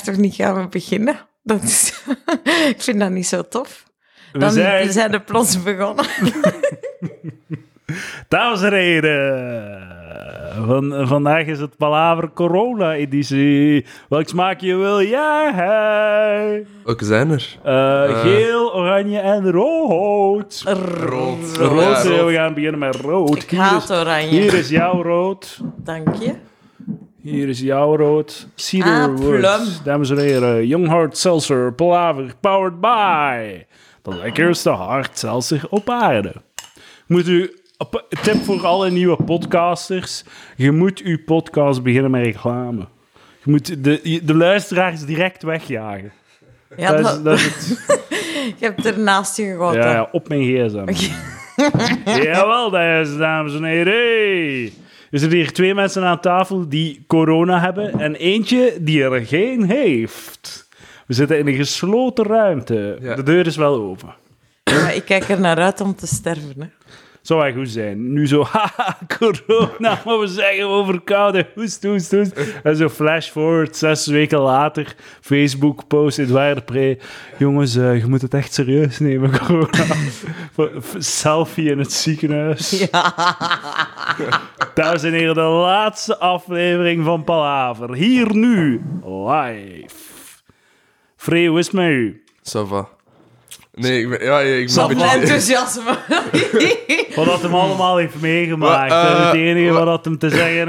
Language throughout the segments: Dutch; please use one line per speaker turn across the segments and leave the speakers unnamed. toch niet gaan we beginnen? Dat is, ik vind dat niet zo tof.
We
Dan
zijn,
zijn er plots begonnen.
dames en heren, van, vandaag is het Palaver Corona editie. Welk smaakje wil jij?
Welke zijn er?
Eh,
Eh.
geel, oranje en rood.
Rood.
Rood,
Ja, rood.
we gaan beginnen met rood.
Ik
Hier is,
haat oranje.
hier is jouw rood.
Dank je.
Hier is jouw rood. Cedar
Ah,
Woods.
plum.
Dames en heren, Young Hard Seltzer, Palaver, powered by. De lekkerste hard seltzer op aarde. Moet u, op- tip voor alle nieuwe podcasters. Je moet uw podcast beginnen met reclame. Je moet de, de luisteraars direct wegjagen.
Ja,
dat is,
dat,
dat is het.
ik heb het ernaast je gegoten.
Ja, ja, op mijn gsm. Jawel, dat is, dames en heren. Hey. Er zitten hier twee mensen aan tafel die corona hebben en eentje die er geen heeft. We zitten in een gesloten ruimte.
Ja.
De deur is wel open.
Maar ik kijk er naar uit om te sterven. Hè.
Zou wel goed zijn. Nu zo, haha, corona, maar we zeggen overkouden. Hoest, hoest, hoest. En zo flash forward, zes weken later, Facebook post, Edouard Pre. Jongens, eh, je moet het echt serieus nemen, corona. F- Selfie in het ziekenhuis. Dames en heren, de laatste aflevering van Palaver. Hier nu, live. Free, hoe is het met u?
Ça va. Nee, ik ben, ja, ik ben
Wat
een
een
beetje...
enthousiasme.
Wat dat hem allemaal heeft meegemaakt.
Wa-
dat is het
eh,
enige
wa-
wat dat hem te zeggen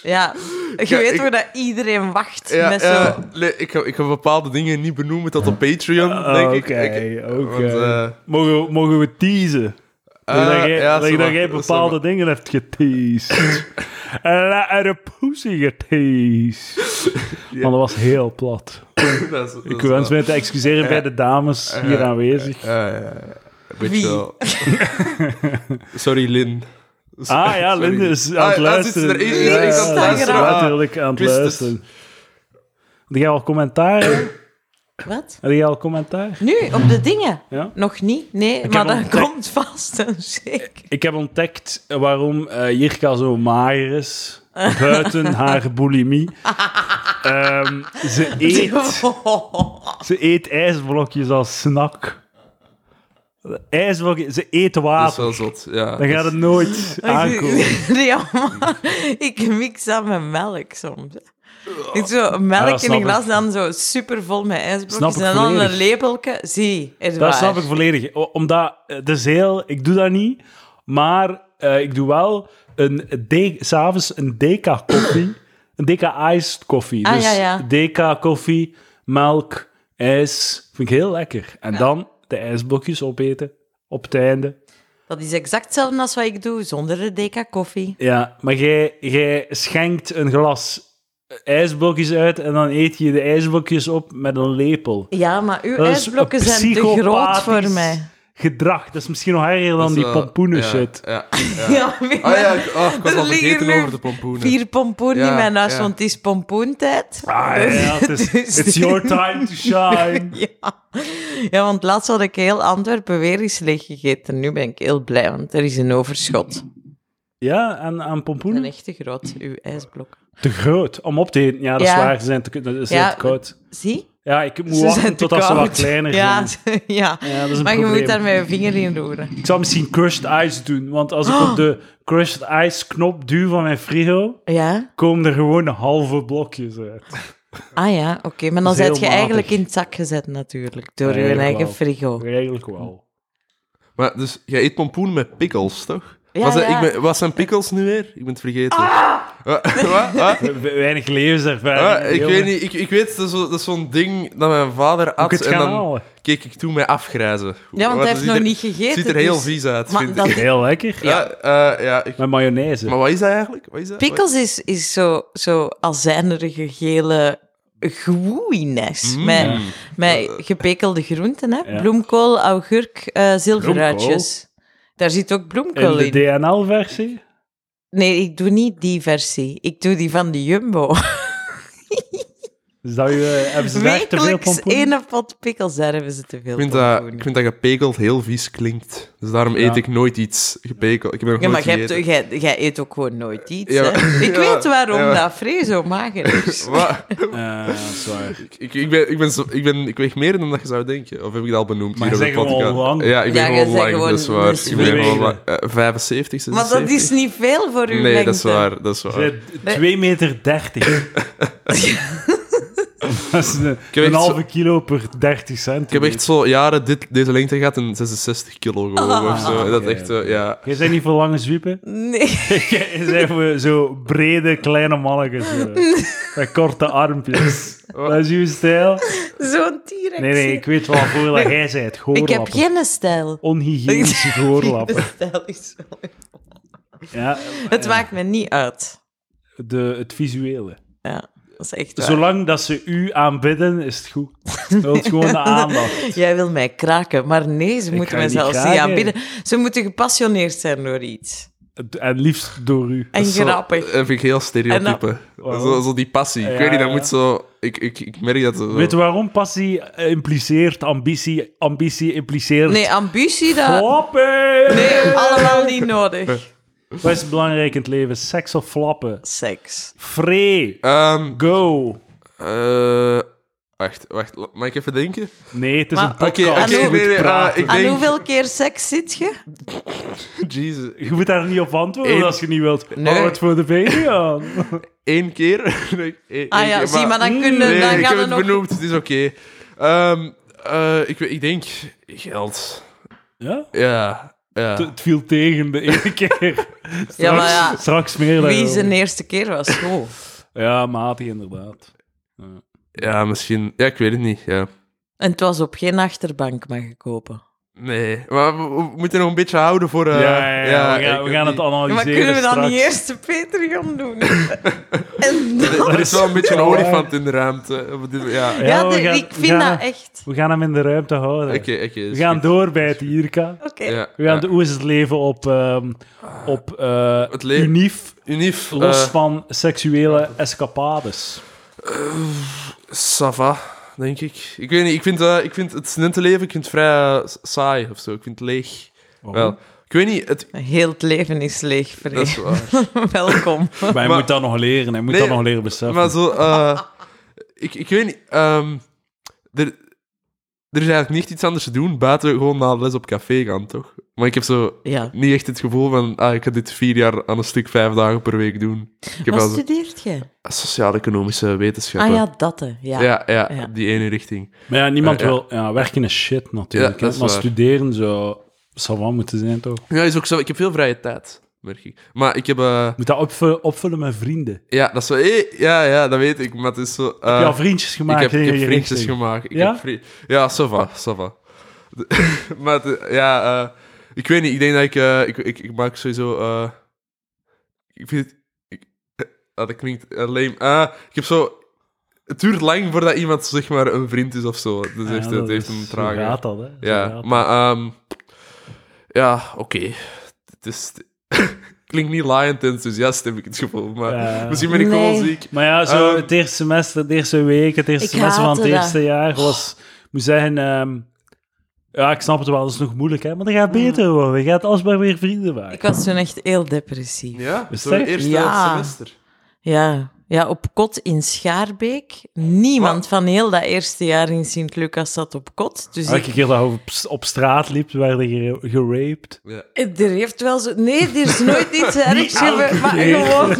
Ja, je
Ja,
weet
ik-
hoe dat iedereen wacht
Ja,
met
ja,
zo...
nee, ik, ga, ik ga bepaalde dingen niet benoemen tot op Patreon, denk
Ah, Oké,
ik. Ik-
oké.
want, eh,
mogen, we- mogen we teasen?
eh,
dat jij,
ja,
dat
ça va,
jij
ça
bepaalde dingen hebt geteased. en dat- en de poesie geteased.
Ja.
Maar dat was heel plat.
va. Dat is- dat
Ik
is
wens
wel-
mij te excuseren bij de dames hier
ja,
aanwezig.
Ja, ja, ja. Een
Wie?
beetje wel. Sorry, Lin.
Ah ja,
Sorry.
Linde is
Ah,
aan het
ah,
luisteren.
zit er één-
Ja,
één is aan het
ja,
luisteren.
ja,
Ah,
natuurlijk aan het
wist het.
luisteren. Had jij al commentaar? Had
Wat?
jij al commentaar?
Nu, op de dingen?
Ja.
Nog niet, nee, maar
heb
dat
ontdekt-
komt vast en zeker.
Ik heb ontdekt waarom eh, Jirka zo mager is. Buiten haar bulimie. Ehm, ze, eet,
Oh.
ze eet ijsblokjes als snack. Ijsblokjes, ze eet
Dat is
water.
wel zot, ja.
Dan gaat het nooit
Oh,
aankomen.
Ja, maar ik mix dat met melk soms. Ik zo
Ja,
melk
dat
in een
snap
glas, dan zo super vol met
Snap
ijsblokjes
ik
en dan een
volledig.
lepeltje. Zie, is waar.
Dat snap ik volledig. O- Omdat, eh, het is heel... Ik doe dat niet. Maar eh, ik doe wel een de- s'avonds een deca koffie. een deca iced koffie.
Ah,
dus
ja, ja.
deca koffie, melk, ijs. Vind ik heel lekker. En dan de ijsblokjes opeten. Op het einde.
Dat is exact hetzelfde als wat ik doe, zonder de deca koffie.
Ja, maar jij, jij schenkt een glas ijsblokjes uit en dan eet je de ijsblokjes op met een lepel.
Ja, maar uw
Dat is
ijsblokken zijn te groot
psychopathisch
voor mij.
Gedrag, dat is misschien nog erger
Dat
dan
is
die
wel-
pompoenen
ja,
shit.
Ja,
Ja,
ja.
maar-
Ah ja, ik, oh, ik was
Er
al
liggen
vergeten
nu
over de pompoenen.
Vier pompoen in
Ja,
mijn huis,
ja.
want het is pompoentijd.
Ah, ja, ja, het is,
Dus-
it's your time to shine.
Ja. ja, want laatst had ik heel Antwerpen weer eens leeggegeten. Nu ben ik heel blij, want er is een overschot.
Ja, aan, aan
Een
pompoenen?
echte groot, uw ijsblok.
Te groot, om op te eten. Ja, dat is
Ja.
waar, ze zijn te, dat zijn
Ja,
te koud.
Zie?
Ja, ik moet
Ze
wachten
zijn te
totdat ze wat
koud.
kleiner
ja,
zijn.
ze- ja.
Ja, dat is een
maar je
probleem.
moet daar met je vinger in roeren.
Ik zal misschien crushed ice doen, want als ik
Oh.
op de crushed ice knop duw van mijn frigo,
Ja?
komen er gewoon halve blokjes uit.
Ah ja, oké. Maar dan
Dat
zit
is
je
heel matig.
eigenlijk in het zak gezet natuurlijk, door je
Eigenlijk
eigen
wel.
frigo.
Eigenlijk wel.
Maar dus, jij eet pompoen met pickles, toch?
Ja,
wat, zijn,
ja. Ah!
Ik ben, wat zijn pickles nu weer? Ik ben het vergeten. Wat? Wat? Wat?
We- we- Weinig levenservaring.
Ah, ik
jongen.
weet niet, ik, ik weet, dat is, zo- dat is zo'n ding dat mijn vader
Moet ik
at
het
en
gaan
dan
halen?
keek ik toen mij afgrijzen.
Ja, want hij
dat
heeft
ziet
nog
er-
niet gegeten.
ziet er heel
dus-
vies uit,
Maar
vind
dat-
ik.
Heel lekker.
Ja, eh, ja ik-
Met mayonaise.
maar wat is dat eigenlijk? Wat is dat?
Pickles is, is zo, zo azijnerige gele groeines.
Mm.
Met, met gepekelde groenten, hè?
Ja.
Bloemkool, augurk, eh zilveruitjes. Daar zit ook
In
bloemkool
de
in.
DNL-versie?
Nee, ik doe niet die versie. Ik doe die van de Jumbo.
Is dat je, eh, hebben ze daar te veel
Wekelijks
pompoen?
ene pot pikkels, daar hebben ze te veel
Ik vind, dat,
pompoen.
ik vind dat gepekeld heel vies klinkt. Dus daarom
Ja.
eet ik nooit iets gepekeld. Ik heb nog
Ja,
nooit
maar jij, hebt-
gegeten.
jij, jij eet ook gewoon nooit iets.
Ja,
hè?
maar-
Ik
ja,
weet waarom
ja.
dat Free zo mager is.
Wat?
Eh, dat is waar.
Ik, ik, ben, ik, ben, zo- ik, ben, ik weeg meer dan dat je zou denken. Of heb ik dat al benoemd
Maar
hier
je
op de
zegt
podcast?
gewoon lang.
Ja, ik ben
Ja, je
gewoon
zegt
lang,
gewoon-
dat is waar.
dus
ik ben gewoon
wegen.
lang. Eh, 75, 76.
Maar dat is niet veel voor uw
Nee,
lengte.
dat is waar. Dat is waar.
Je bent 2 meter 30. dat is een,
echt
een
zo-
halve kilo per 30 cent.
Ik heb echt zo jaren dit, deze lengte gehad en 66 kilo gewoon of zo.
Ah,
dat
oké,
echt, eh, ja.
Jij bent niet voor lange zwiepen.
Nee.
Jij bent voor zo brede, kleine mannetjes. eh, Met korte armpjes.
Oh.
Dat is uw stijl.
Zo'n T-rex.
Nee, nee, ik weet wel voor dat jij zei het.
Ik heb
Goorlappen.
geen stijl.
Onhygiënische
Geen
goorlappen.
stijl is wel-
Ja, Eh,
Het maakt me niet uit.
de, het visuele.
Ja, dat is echt waar.
Zolang dat ze u aanbidden, is het goed. Dat is gewoon de aandacht.
Jij wil mij kraken, maar nee, ze moeten
ga
mij
je niet
zelfs niet
kraken.
aanbidden. Ze moeten gepassioneerd zijn door iets.
En liefst door u.
En
Zo,
grappig.
Dat vind ik heel stereotype.
Waarom?
Zo, zo die passie.
Ja,
ik weet niet, dat
ja.
moet zo... Ik, ik, ik merk dat... Zo,
Weet je waarom? Passie eh, impliceert ambitie. Ambitie impliceert...
Nee, ambitie, dat...
Flappen!
Nee, allemaal niet nodig.
Wat is belangrijk in het leven? Seks of flappen?
Seks.
Free.
Ehm,
Go.
eh, wacht, wacht. la- Mag ik even denken?
Nee, het is
Maar-
een
Oké,
podcast.
oké,
Je moet
nee, nee,
praten.
ah, ik-
Aan
denk-
hoeveel keer seks zit je?
Jezus.
Je moet daar niet op antwoorden
Eén.
als je niet wilt.
Nee.
Nee. het voor de Patreon.
Eén keer. Nee, één
Ah ja,
keer,
zie, maar dan
Mm,
kunnen...
Nee,
dan gaan
ik heb
we
het
nog...
benoemd. Het is oké. Ehm, eh, ik, weet- ik denk... Geld.
Ja?
Ja, ja.
Het- Het viel tegen de ene keer. Straks,
Ja, maar ja.
Straks meer
Wie
daarover.
zijn eerste keer was school.
Ja, matig inderdaad.
Ja, misschien... Ja, ik weet het niet, ja.
En het was op geen achterbank mag kopen.
Oh,
Nee, maar we, we moeten nog een beetje houden voor... eh,
ja, ja, ja, we gaan,
ik-
we gaan het
die-
analyseren
Maar kunnen we dan
straks.
niet eerst de Patreon doen? en dan...
Er is wel een beetje een
Ja.
olifant in de ruimte. Op dit- Ja,
Ja,
oké,
we
de-
gaan-
ik
we
vind
gaan-
dat echt...
We gaan hem in de ruimte houden.
oké.
we
is
gaan
goed.
door bij het Ierka.
Oké.
Ja,
We gaan
ja.
de, hoe is het leven op, ehm, op eh,
Het leven-
unief,
Unief,
los
eh,
van seksuele escapades?
ça va, denk ik. Ik weet niet, ik vind, eh, ik vind het studentenleven ik vind het vrij eh, saai of zo. Ik vind het leeg. Wel, ik weet niet, het,
Heel het leven is leeg, Free.
dat is waar.
Welkom.
Maar hij
Maar-
moet dat nog leren, hij moet
Nee,
dat nog leren beseffen.
Maar zo, eh, ik, ik weet niet, ehm, er, er is eigenlijk niet iets anders te doen buiten gewoon na les op café gaan, toch? Maar ik heb zo
Ja.
niet echt het gevoel van, ah, ik ga dit vier jaar aan een stuk vijf dagen per week doen. Ik heb
Wat
wel zo-
studeert je?
sociaal-economische wetenschappen.
Ah ja, dat hè. Ja.
Ja, ja,
Ja.
die ene richting.
Maar ja, niemand
Eh, ja.
wil... Ja, werken is shit natuurlijk.
Ja,
hè.
dat is
maar
waar.
studeren zou savant moeten zijn, toch?
Ja, is ook zo. Ik heb veel vrije tijd, merk ik. Maar ik heb... eh,
Moet dat opvullen, opvullen met vrienden.
ja, dat is zo... hé, ja, ja, dat weet ik, maar het is zo... eh,
ja, vriendjes
ik
gemaakt.
heb, ik
in
heb
je
vriendjes
richting.
gemaakt. Ik
Ja?
heb vri- ja, ça va, ça va. De- maar het- ja, eh, ik weet niet. Ik denk dat ik... eh, ik, ik, ik maak sowieso... eh, ik vind het... Ik, eh, ah, dat klinkt eh, lame. Ah, ik heb zo... Het duurt lang voordat iemand zeg maar een vriend is of zo. Dus
Ja,
heeft,
dat
het heeft
is-
een
Zo
trage...
gaat dat, hè. Zo gaat
Ja,
dat.
maar ehm, ja, oké. Het is klinkt niet laaiend enthousiast, heb ik het gevoel. Maar
Ja.
misschien ben ik
Nee.
gewoon ziek.
Maar ja, zo
Ehm,
het eerste semester, de eerste week, het eerste
Ik
semester van het
haatte
eerste jaar was... Ik moet zeggen, ehm, ja, ik snap het wel, dat is nog moeilijk, hè. Maar dat gaat beter
Mm.
worden. Je gaat alsmaar weer vrienden maken.
Ik was toen echt heel depressief.
Ja,
Is
zo
het echt?
eerste
Ja.
semester.
Ja. Ja, op kot in Schaarbeek. Niemand
Wat?
van heel dat eerste jaar in Sint-Lucas zat op kot. Dus ik
Elke keer dat je op, op straat liep, werd je gera- geraped.
Ja.
Er heeft wel zo... Nee, er is nooit iets ergs. gebeurd, maar
keer.
gewoon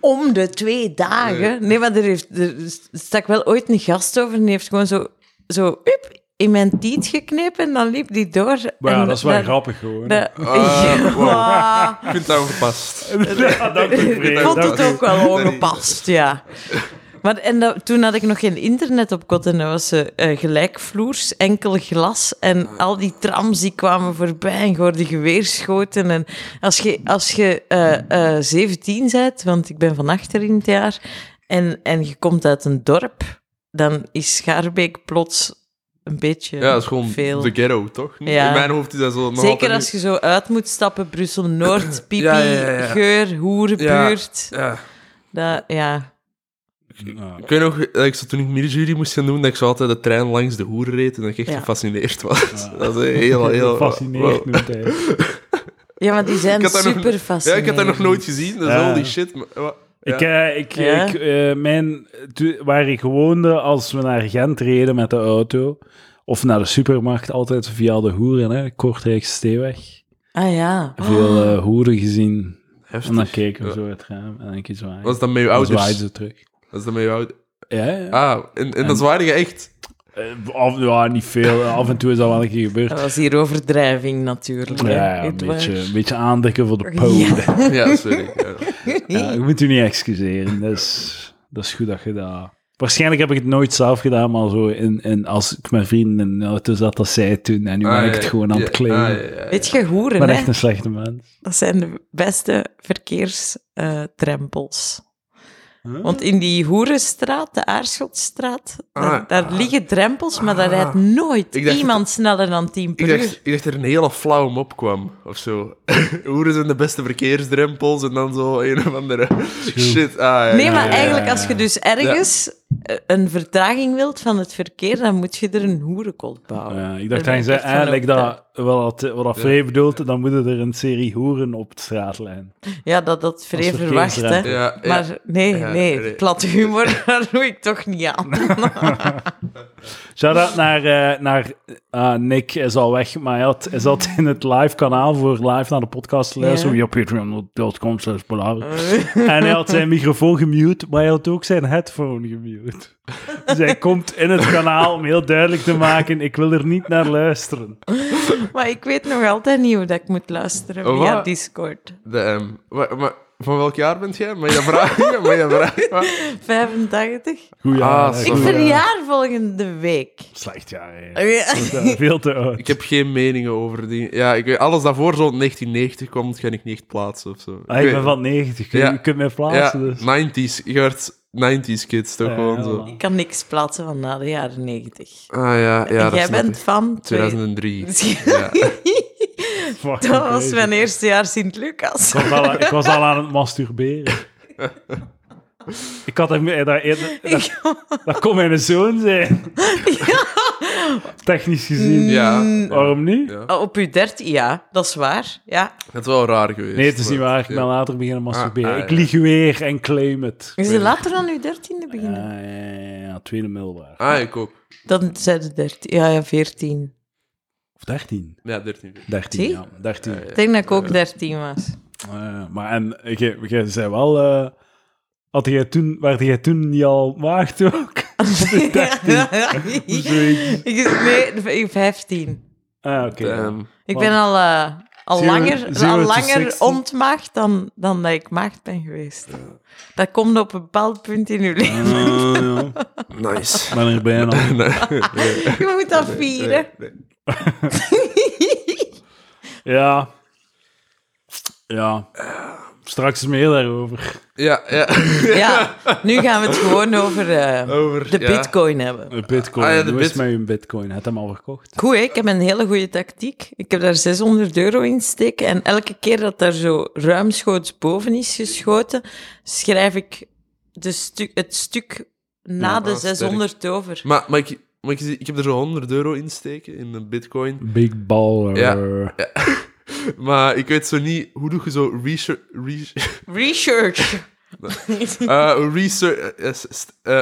om de twee dagen. Nee, maar er, heeft, er stak wel ooit een gast over en die heeft gewoon zo, zo up, in mijn tiet geknepen en dan liep die door.
Maar ja,
En
dat is wel
dat-
grappig gewoon.
dat-
Ah,
ja,
Ik vind dat ongepast.
Ja, dank u,
ik
vriend.
vond
Dank
het
u.
ook wel ongepast, ja. Maar en dat- toen had ik nog geen internet op kot en dat was eh, eh, gelijkvloers, enkel glas. En al die trams die kwamen voorbij en je hoorde geweerschoten. En als je, als je eh, eh, 17 bent, want ik ben van achter in het jaar, en, en je komt uit een dorp, dan is Schaarbeek plots een beetje
Ja, dat is gewoon
veel.
de ghetto, toch?
Ja.
In mijn hoofd is dat zo nog
Zeker
altijd
als je zo uit moet stappen, Brussel-Noord, pipi,
Ja, ja, ja, ja.
geur, hoerenbuurt.
niet- Ja,
Dat, ja.
ik
Ja.
Ik weet nog, dat ik zo, toen ik middenjury moest gaan doen, dat ik zo altijd de trein langs de hoeren reed en dat ik echt
Ja.
gefascineerd was. Dat is heel, heel...
Fascinerend
wow.
noemt hij het.
Ja, maar die zijn
Ik had dat nog-
super
Ja, ik heb dat nog nooit gezien, dus
Ja.
holy shit. maar- wa-
Ik,
ja.
eh, ik,
Ja.
ik, eh, mijn, toen- waar ik woonde, als we naar Gent reden met de auto, of naar de supermarkt, altijd via de hoeren, hè, Kortrijkse Steeweg.
Ah ja.
Veel eh, hoeren gezien.
Heftig.
En dan keken we
Ja.
zo het raam en ik zwaaien.
Was dat met je
Dan
ouders?
zwaaiden ze terug.
Was dat met je ouders?
Ja, ja.
Ah, en, en dat zwaaide je echt?
Eh, Af, ja, niet veel. Af en toe is dat wel een keer gebeurd.
Dat was hier overdrijving natuurlijk.
Ja,
hè,
ja, een,
Edouard.
beetje, een beetje aandekken voor de polen. Ja.
Ja, sorry. Ja.
ik moet u niet excuseren. Dat is, dat is goed dat je dat... Waarschijnlijk heb ik het nooit zelf gedaan, maar zo in, in, als ik met vrienden in de auto zat, dat zij het toen. En nu ben
Ah,
ik het
ja,
gewoon aan
ja,
het kleden.
ah, ja, ja, ja.
Weet je,
Ik
hoeren,
ben
hè?
echt een slechte mens.
Dat zijn de beste verkeersdrempels. Want in die hoerenstraat, de Aarschotstraat, daar,
Ah.
daar liggen drempels, maar daar rijdt nooit
Ik dacht-
iemand sneller dan 10
Ik
per
dacht,
uur.
ik dacht dat er een hele flauwe mop kwam, of zo. Hoeren zijn de beste verkeersdrempels en dan zo een of andere shit. Ah, ja,
Nee,
ja,
maar
ja.
eigenlijk als je dus ergens eh, een vertraging wilt van het verkeer, dan moet je er een hoerenkot
Ah.
bouwen.
Ja, ik
Daar ben
dacht dat je zei,
echt van
eigenlijk
overtuigd.
dat, wat, dat- wat dat Free bedoelt, dan moeten er een serie hoeren op de straatlijn.
Ja, dat dat vrij
Als
verwacht, hè.
verkeersruimte.
Ja, ja.
Maar nee,
Ja,
nee,
nee.
platte humor, daar doe ik toch niet aan.
Shout-out naar, eh, naar ah, Nick, hij is al weg, maar hij, had, hij zat in het live kanaal voor live naar de podcast te luisteren
Ja.
via patreon.com slash Palaver.
Eh.
En hij had zijn microfoon gemute, maar hij had ook zijn headphone gemute. Dus hij komt in het kanaal om heel duidelijk te maken, ik wil er niet naar luisteren.
maar ik weet nog altijd niet hoe dat ik moet luisteren
Oh,
via
wat?
Discord.
De, ehm, wa- maar, van welk jaar bent jij? Mag je dat vragen? Mag je dat vragen? Wat?
85?
Goeie
Ah,
jaar,
sorry.
Ik
goeie jaar.
verjaar volgende week.
Slecht jaar, hè.
Ja.
Ja, Veel te oud.
Ik heb geen meningen over die... Ja, ik weet, alles dat voor zo'n 1990 komt, ga ik niet echt plaatsen of zo.
Ah, ik
weet-
ben van 90, je,
Ja.
je kunt mij
Ja,
plaatsen. dus.
90s. Je werd 90s kids, toch
Ja,
gewoon
ja,
zo.
man.
Ik kan niks plaatsen van na de jaren 90.
Ah ja, ja
en
dat
jij
snap
bent
ik.
van... twee-
2003. Ja.
Fucking
Dat was
crazy.
mijn eerste jaar Sint-Lucas.
Ik was, al, ik was al aan het masturberen. ik had hem... eh, Dat, eerder- dat,
Ik-
dat kon mijn zoon zijn. Technisch gezien.
Mm.
Ja.
Waarom niet?
Ja.
Oh, Op uw dertien, ja, dat is waar. Ja.
Dat is wel raar geweest.
Nee, het is niet
maar-
waar. Ik ben
ja.
later beginnen masturberen.
Ah, ah,
ik
ja.
lieg weer en claim het.
Is
weet
het
het.
later dan uw dertiende
Ja,
beginnen?
ja, ja, ja, tweede middelbaar.
Ah, ik ook.
Dan zijn de dertien. Ja, ja, veertien.
Of 13.
Ja, 13.
13,
Zie?
ja. 13.
Ja, ja.
Ik denk dat ik ook dertien was.
Eh, maar en, jij- jij zei wel... eh had jij toen, werd jij toen niet al maagd ook?
Ja, ja.
Zoiets.
Ik- Nee, vijftien.
Ah, oké.
Ehm,
Ik
Want-
ben al, eh, al
Zero-
langer,
zero
al
to
langer
60.
ontmaagd dan, dan dat ik maagd ben geweest. Dat komt op een bepaald punt in uw leven.
Ah, ja.
nice.
Ik ben er bijna.
Je moet dat vieren.
Ja. Ja. Straks meer daarover.
Ja, ja.
Ja, nu gaan we het gewoon over eh,
Over,
de
ja.
bitcoin hebben.
Een Eh, Bitcoin.
Ah, ja, de
Hoe is het
bit-
met je bitcoin? Heb je hem al verkocht?
Goed, hè? ik heb een hele goede tactiek. Ik heb daar 600 euro in steken. En elke keer dat daar zo ruimschoots boven is geschoten, schrijf ik de stu- het stuk na
Ja,
de
ah, sterk.
600 over.
Maar, maar, ik, maar ik, zie- ik heb er zo 100 euro in steken in de bitcoin.
Big baller.
Ja. Maar ik weet zo niet, hoe doe je zo research... research,
Research.
eh, research eh, s- st- eh,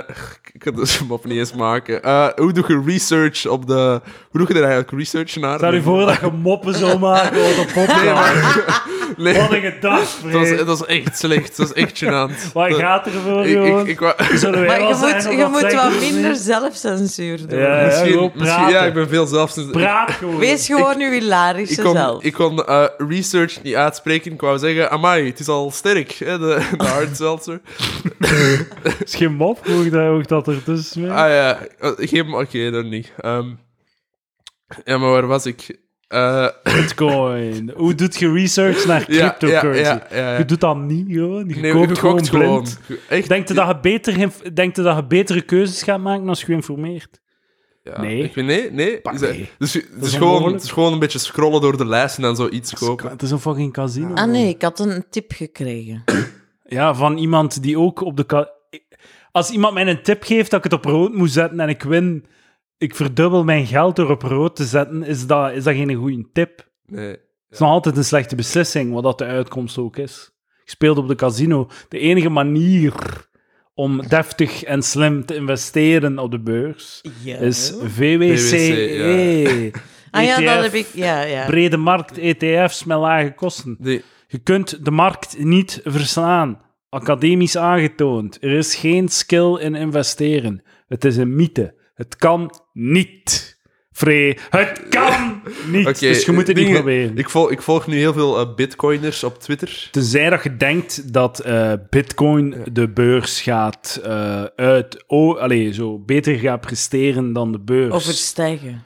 ik kan deze mop niet eens maken. Eh, hoe doe je research op de... Hoe doe je er eigenlijk research naar?
Stel je voor dat je moppen zou maken over de podcast.
Nee, maar... Nee,
Wat een gedacht,
het was, het
vriend.
was echt slecht. Het was echt gênant.
Wat
Dat-
gaat er voor,
ik,
jongen?
ik, ik, wou-
Zullen wij
Maar
wel
je
zijn
moet,
of
je moet
zeggen
wat
we niet?
minder zelfcensuur doen.
Ja, ja,
misschien,
gewoon
misschien, ja,
praten.
ik ben veel zelfs...
Praat gewoon.
Wees gewoon uw hilarische
Ik kon,
zelf.
ik kon eh, research niet uitspreken. Ik wou zeggen, amai, het is al sterk, hè, de, de hard seltzer.
Het is geen mop, hoe ik dat, hoe ik dat er dus tussen mee.
Ah ja, eh, geen... Oké, dan niet. Ehm, ja, maar waar was ik? Eh,
Bitcoin. Hoe doet je research naar
ja, ja, ja,
cryptocurrency?
ja, ja.
Je doet dat niet gewoon. Je
Nee,
koopt
je
gewoon
gokt
blind.
gewoon. Echt?
Denk je dat je, beter, geïnf- denk je dat je betere keuzes gaat maken als je geïnformeerd?
Ja.
Nee.
Ik weet- nee, nee.
Pak
Is dat-
nee.
Dus, je- het,
is
is gewoon,
onmogelijk.
het is gewoon een beetje scrollen door de lijst en dan zo iets kopen.
Het is een fucking casino.
Ah nee, ik had een tip gekregen.
Ja, van iemand die ook op de... ca- als iemand mij een tip geeft dat ik het op rood moet zetten en ik win, ik verdubbel mijn geld door op rood te zetten, is dat, is dat geen goede tip. Het
Nee.
is nog altijd een slechte beslissing, wat dat de uitkomst ook is. Ik speelde op de casino. De enige manier om deftig en slim te investeren op de beurs
Ja.
is VWCE.
ah ja, dat
ETF,
heb ik. Ja, ja.
Brede markt ETF's met lage kosten.
Nee.
Je kunt de markt niet verslaan. Academisch aangetoond. Er is geen skill in investeren. Het is een mythe. Het kan niet. Free, het kan niet.
Oké,
dus je moet het niet
dingen-
proberen.
Ik volg, ik volg nu heel veel eh, bitcoiners op Twitter.
Tenzij dat je denkt dat eh, Bitcoin de beurs gaat eh, uit. Oh, allee, zo beter gaat presteren dan de beurs.
Overstijgen.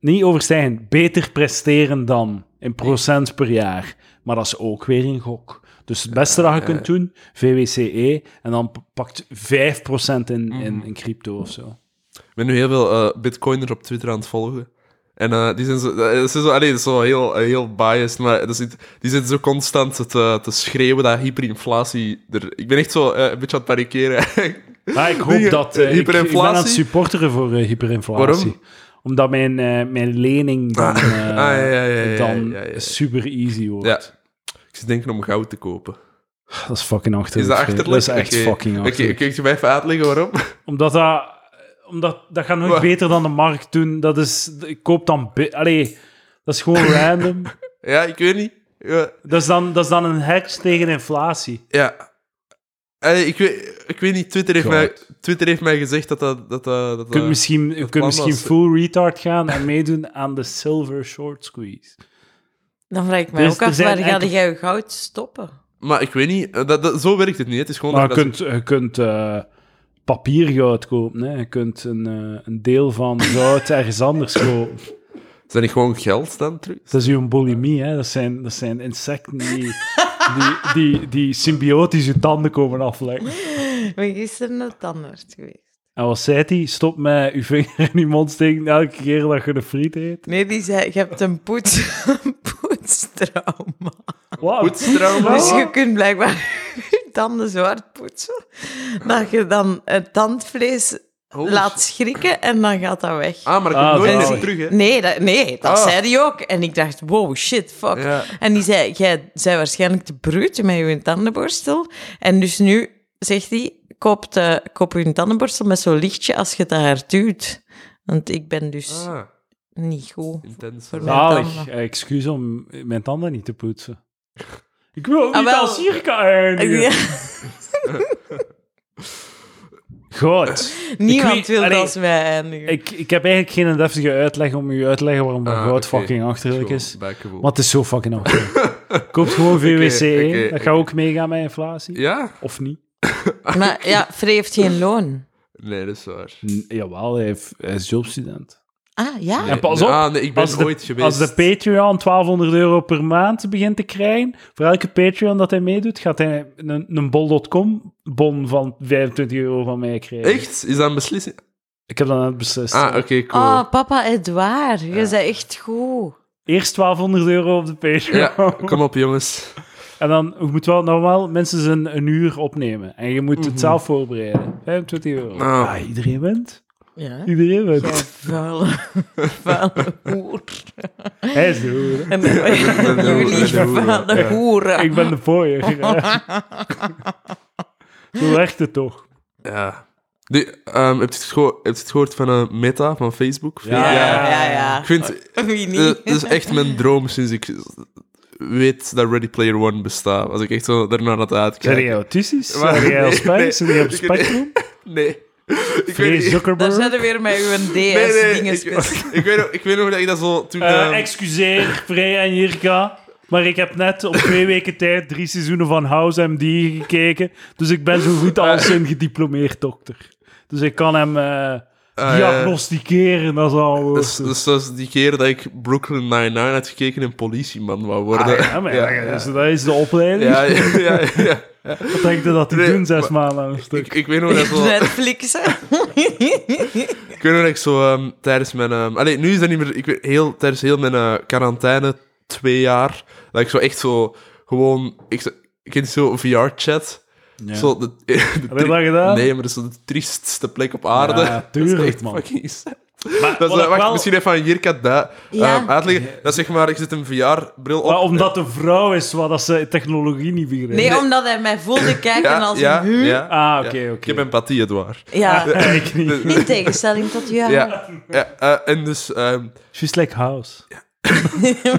Niet overstijgen, beter presteren dan in procent per jaar. Maar dat is ook weer een gok. Dus het beste dat je
Eh,
kunt doen, VWCE, E, en dan p- pakt 5% in,
Mhm.
in, in crypto of zo.
Ik ben nu heel veel eh, bitcoiners op Twitter aan het volgen. En eh, die zijn zo... eh, ze zijn zo allee, dat is wel heel, eh, heel biased, maar dat is niet- die zitten zo constant te, te schreeuwen dat hyperinflatie... Er, ik ben echt zo eh, een beetje aan het parikeren.
Maar ik hoop
Dingen-
dat... eh, ik- ik, ben aan het
hyperinflatie?
supporteren voor eh, hyperinflatie.
Waarom?
Omdat mijn, eh, mijn lening dan, eh,
ah, ja, ja, ja, ja,
dan
ja, ja.
super easy wordt.
ja. Ik zit denken om goud te kopen.
Dat is fucking achterlijk.
Is dat
vriend.
achterlijk?
Dat is echt
Oké.
fucking
Oké,
achterlijk.
kun je mij even uitleggen waarom?
Omdat dat... Omdat, dat gaat nooit
Wat?
beter dan de markt doen. Dat is... Ik koop dan... bi- Allee, dat is gewoon random.
ja, ik weet niet. Ja,
Dat is dan, dat is dan een hedge tegen inflatie.
Ja. Eh, ik, weet, ik weet niet, Twitter heeft,
God.
mij, Twitter heeft mij gezegd dat dat... dat, dat, dat
Je kunt misschien, je kunt
plan
misschien
was-
full retard gaan en meedoen aan de silver short squeeze.
Dan vraag ik mij
Dus
ook
er
af,
zijn
waar ga
enkel-
jij je goud stoppen?
Maar ik weet niet, eh, dat, dat, zo werkt het niet. Het is gewoon...
Maar je
dat je dat-
kunt, je kunt eh, papiergoud kopen. Hè. Je kunt een, eh, een deel van goud ergens anders kopen.
Zijn die gewoon geld dan terug?
Dat is uw bulimie, hè. Dat zijn, dat zijn insecten die, die, die, die symbiotisch uw tanden komen afleggen.
Ik ben gisteren naar de tandarts geweest.
En wat zei die? Stop met uw vinger in je mond steken elke keer dat je de friet eet.
Nee, die zei, je hebt een, poets, een poetstrauma.
Wat?
Poetstrauma?
Dus je kunt blijkbaar je tanden zo hard poetsen, dat je dan het tandvlees
Oh.
laat schrikken en dan gaat dat weg.
Ah, maar ik
Ah,
kom nooit meer
zalig.
terug, hè?
Nee, dat, nee, dat
Ah.
zei die ook. En ik dacht, wow, shit, fuck.
Ja.
En die zei, jij zei waarschijnlijk te bruut met je tandenborstel. En dus nu, zegt hij, koop, de, koop je tandenborstel met zo'n lichtje als je het haar duwt. Want ik ben dus
Ah,
niet goed.
intens.
Voor mij.
Zalig.
tanden.
Eh, Excuus om mijn tanden niet te poetsen. Ik wil ook
Ah,
niet
wel.
als eh, circa eindigen.
Ja,
Goed.
niemand
weet-
wil
allee,
dat als mij eindigen.
Ik, ik heb eigenlijk geen deftige uitleg om u uit te leggen waarom dat
Ah,
goud
oké.
fucking achterlijk
Gewoon
is.
backable.
Want het is zo fucking achterlijk. Koop gewoon VWCE.
oké,
dat gaat ook meegaan met inflatie.
Ja?
Of niet?
Maar ja, Free heeft geen loon.
Nee, dat is waar.
N- jawel, hij, heeft- hij is jobstudent.
Ah, ja?
Nee.
En pas op,
Ah, nee, ik ben
als de-
ooit geweest.
Als de Patreon 1200 euro per maand begint te krijgen, voor elke Patreon dat hij meedoet, gaat hij een, een bol.com bon van 25 euro van mij krijgen.
Echt? Is dat een beslissing?
Ik heb dat net beslist.
Ah, oké, cool.
Oh, papa Edouard, je bent echt goed.
Eerst 1200 euro op de Patreon.
Ja, kom op, jongens.
En dan je moet wel normaal mensen een, een uur opnemen. En je moet
Mhm.
het zelf voorbereiden. 25 euro.
Ah.
Ah, iedereen wint.
Ja.
Iedereen wint.
Jij vuile, vuile hoer.
Hij is de hoer.
En jullie
de hoeren,
vuile
ja.
hoeren.
Ik ben de pooier. Zo werkt het toch?
Ja. Die, ehm, heb, je het geho- heb je het gehoord van eh, Meta, van Facebook?
Ja, ja, ja.
Ik vind,
Wie
Eh,
niet?
Het is echt mijn droom sinds ik weet dat Ready Player One bestaat. Als ik echt zo daarnaar had
Zijn jij
uitkijken.
autistisch?
Maar-
Zijn jij als
Nee.
Zijn jij op
Ik-
spectrum?
Nee. Ik
Vrij
weet niet.
Daar
Zuckerberg?
zijn we weer met uw
Nee, nee,
DS-dingen
ik, ik, weet, nog- ik weet nog dat ik dat zo toen...
Eh,
ehm,
excuseer, Vrij en Jirka. Maar ik heb net op twee weken tijd drie seizoenen van House MD gekeken. Dus ik ben zo
Eh.
goed als een gediplomeerd dokter. Dus ik kan hem eh,
eh,
diagnosticeren, dat is al Ah, een woord.
dus, dus dat is die keer dat ik Brooklyn Nine-Nine had gekeken en politieman wou
Ah,
worden.
ja, maar ja,
ja.
dus dat is de opleiding.
Ja, ja, ja, ja.
Wat denk je dat die
Nee,
doen zes
maar-
maanden aan een stuk?
Ik, ik weet nog dat zo...
Netflixen.
Ik weet nog dat ik zo ehm, tijdens mijn... ehm allee, nu is dat niet meer... Ik weet, heel, tijdens heel mijn eh, quarantaine, twee jaar, dat ik zo echt zo gewoon... Ik, zo- ik ken zo VR-chat. Zo de, de
je
tri-
dat gedaan?
Nee, maar dat is zo de triestste plek op aarde.
Ja, tuurlijk,
dat is echt
man.
fucking sad.
Maar,
Dat is, eh,
wat ik
wacht,
wel-
misschien even aan Jirka dat
Ja.
ehm, uitleggen. Dat is zeg maar, je zet een VR-bril op.
maar omdat de vrouw is, wat dat ze technologie niet begrijpt.
Nee, omdat hij mij voelde kijken als
ja,
een hu.
ja,
Ah,
ja.
oké, oké.
Ik heb empathie, het waar.
Ja.
Ja, ik niet.
in tegenstelling tot jou.
Ja, ja eh, en dus... ehm,
She's like house.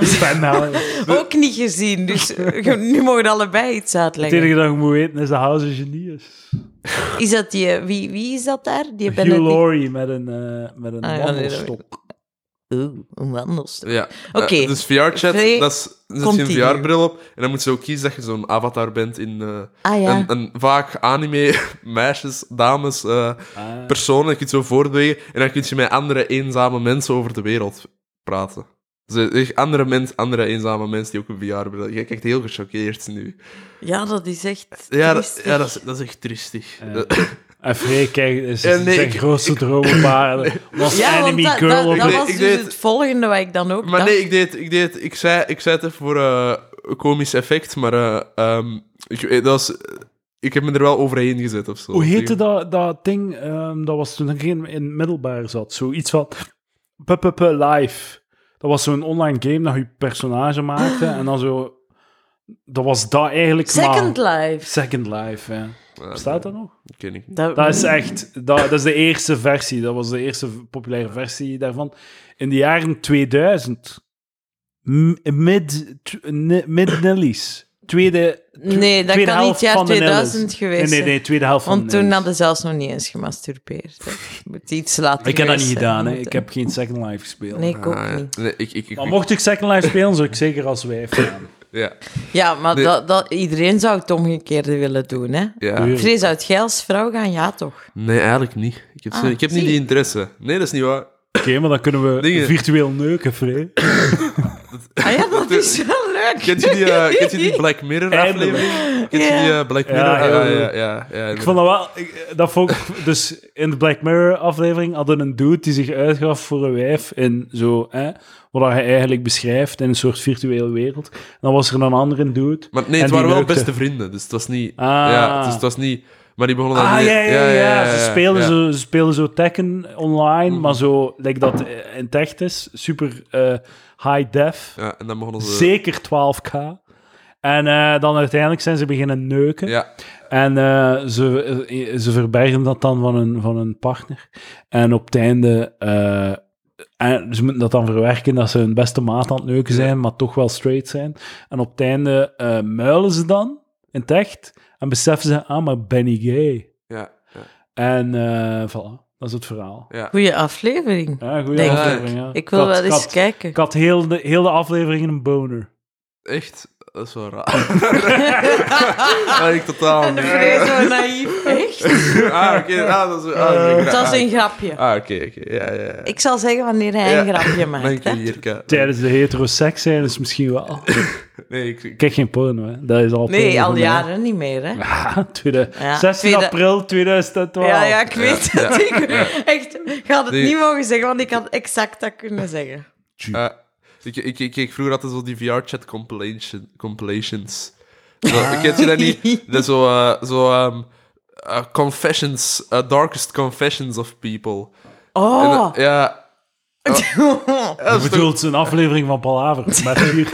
Van house.
Ook niet gezien, dus eh, nu mogen we allebei iets
Het
uitleggen.
enige dat je moet weten is dat house een genie is.
Is dat die, eh, wie, wie is dat daar? Die
Hugh
Benedict-
Laurie met een, eh met een
Ah, ja, nee, dat-
wandelstok.
Oeh, een wandelstok.
Ja.
Oké.
Eh, dus VR-chat,
Vrij-
dat is, zet je
continue.
een VR-bril op en dan moet je ook kiezen dat je zo'n avatar bent in eh,
Ah ja.
een, een vaak anime, meisjes, dames, eh,
Ah.
personen. Je kunt zo voortbrengen en dan kun je met andere eenzame mensen over de wereld praten. Dus eh, echt andere, mens, andere eenzame mensen die ook een VR-bril hebben. Je kijkt heel gechoqueerd nu.
Ja, dat is echt.
Ja, dat,
triestig.
ja, dat, is, dat is echt triestig.
Ja.
Dat-
eh, En Freek, kijk, is
Ja, nee,
zijn
ik-
grootste droom op aarde. Was
Ja, want
Enemy
dat,
Girl
dat,
op
dat
Nee,
was
ik
dus
deed-
het volgende wat ik dan ook
Maar
dacht.
nee, ik deed, ik deed, ik zei, ik zei het even voor eh, een komisch effect, maar eh, ehm, ik, eh, dat was, ik heb me er wel overheen gezet of zo.
Hoe heette dat, dat ding? ehm, dat was toen ik in, in middelbaar zat. Zoiets van... PPP Live. Dat was zo'n online game dat je personage maakte. En dan zo... Dat was dat eigenlijk
Second
maar...
Life.
Second Life, ja.
Ja,
Bestaat dat nog?
dat ken ik niet.
Dat,
Dat is echt... Dat, dat is de eerste versie. Dat was de eerste v- populaire versie daarvan. In de jaren 2000. M- Mid... tw- ne- Mid-Nellies. Tweede... tw-
Nee, dat
tweede
kan niet
helft
jaar
van de Nellies.
2000 geweest
Nee, nee,
zijn.
nee. Tweede helft van
Want
de
toen
Nellies.
hadden ze zelfs nog niet eens gemasturbeerd. hè. Moet iets laten
Ik heb dat niet
geweest zijn.
gedaan, hè.
Moet-
Ik heb geen Second Life gespeeld.
Nee, ik ook
Ah, ja.
niet.
Nee, ik, ik, ik,
Maar mocht ik Second Life spelen, zou ik zeker als wijf gaan.
ja,
Ja, maar
Nee.
dat, dat, iedereen zou het omgekeerde willen doen, hè?
ja.
Tuurlijk.
Vrees uit jij als vrouw gaan, ja toch?
Nee, eigenlijk niet. Ik heb, zo-
Ah,
ik heb niet
zie.
die interesse. Nee, dat is niet waar.
Oké, maar dan kunnen we
Dingen.
virtueel neuken, Free.
Ah ja, dat is wel leuk.
Kent je die, eh, kent je die Black Mirror
Eindelijk.
aflevering? Kent je die eh, Black
Ja,
Mirror? Ah, Ja,
heel
ja,
goed.
ja, ja,
Ik vond dat wel... ik- eh, dat vond ik- dus in de Black Mirror-aflevering hadden een dude die zich uitgaf voor een wijf in zo... Hè, wat hij eigenlijk beschrijft in een soort virtuele wereld. En dan was er een andere dude...
Maar nee,
en
het
die
waren wel
leukte.
beste vrienden, dus het was niet...
Ah.
Ja, dus het was niet... Maar die begonnen dan
Ah,
niet-
ja, ja, ja.
ja,
Ze, spelen
ja. Mhm.
Zo, ze spelen zo Tekken online, maar zo... Like dat eh, in Techt is. Super eh, high def.
Ja, eh. en dan begonnen ze...
Zeker 12k. En eh, dan uiteindelijk zijn ze beginnen neuken.
Ja,
En eh, ze, eh, ze verbergen dat dan van een, van een partner. En op het einde... eh, en ze moeten dat dan verwerken dat ze hun beste maat aan het neuken zijn, maar toch wel straight zijn. En op het einde eh, muilen ze dan, in het echt. En beseffen ze, ah, maar Benny gay.
ja, ja.
En eh voilà, dat is het verhaal.
ja.
Goeie aflevering.
Ja, goede
Denk ik.
aflevering, ja.
Ik wil
had-
wel eens
had-
kijken.
Ik had heel de, heel de aflevering een boner.
Echt? Dat is wel raar. dat ik totaal
En de
niet.
vrees zo naïef. Echt?
Ah, oké. Ah, dat is...
Eh,
Ah, dat is
Het was
ah,
een grapje.
Ah, oké, oké. Ja, ja, ja.
Ik zal zeggen wanneer hij een
Ja.
grapje maakt.
Dank je,
hè.
Jirka.
Tijdens de heteroseks zijn is misschien wel.
Nee, ik... ik-
Ik kijk geen porno, hè. Dat is al
Nee,
porno
al
voor mij.
jaren niet meer,
Oh.
hè?
Ah, tweede-
Ja,
16
tweede-
april 2012.
Ja, ja, ik weet dat. Ik echt, ik had het
Die-
niet mogen zeggen, want ik had exact dat kunnen zeggen.
ah, ik, ik, ik keek vroeger altijd zo die VR-chat compilation, compilations.
Ah.
Dat, Kent je dat niet? Dat is zo... eh, zo ehm, eh, confessions, eh, darkest confessions of people. En, eh,
Oh!
ja,
Je bedoelt een aflevering van Palaver. Met vier.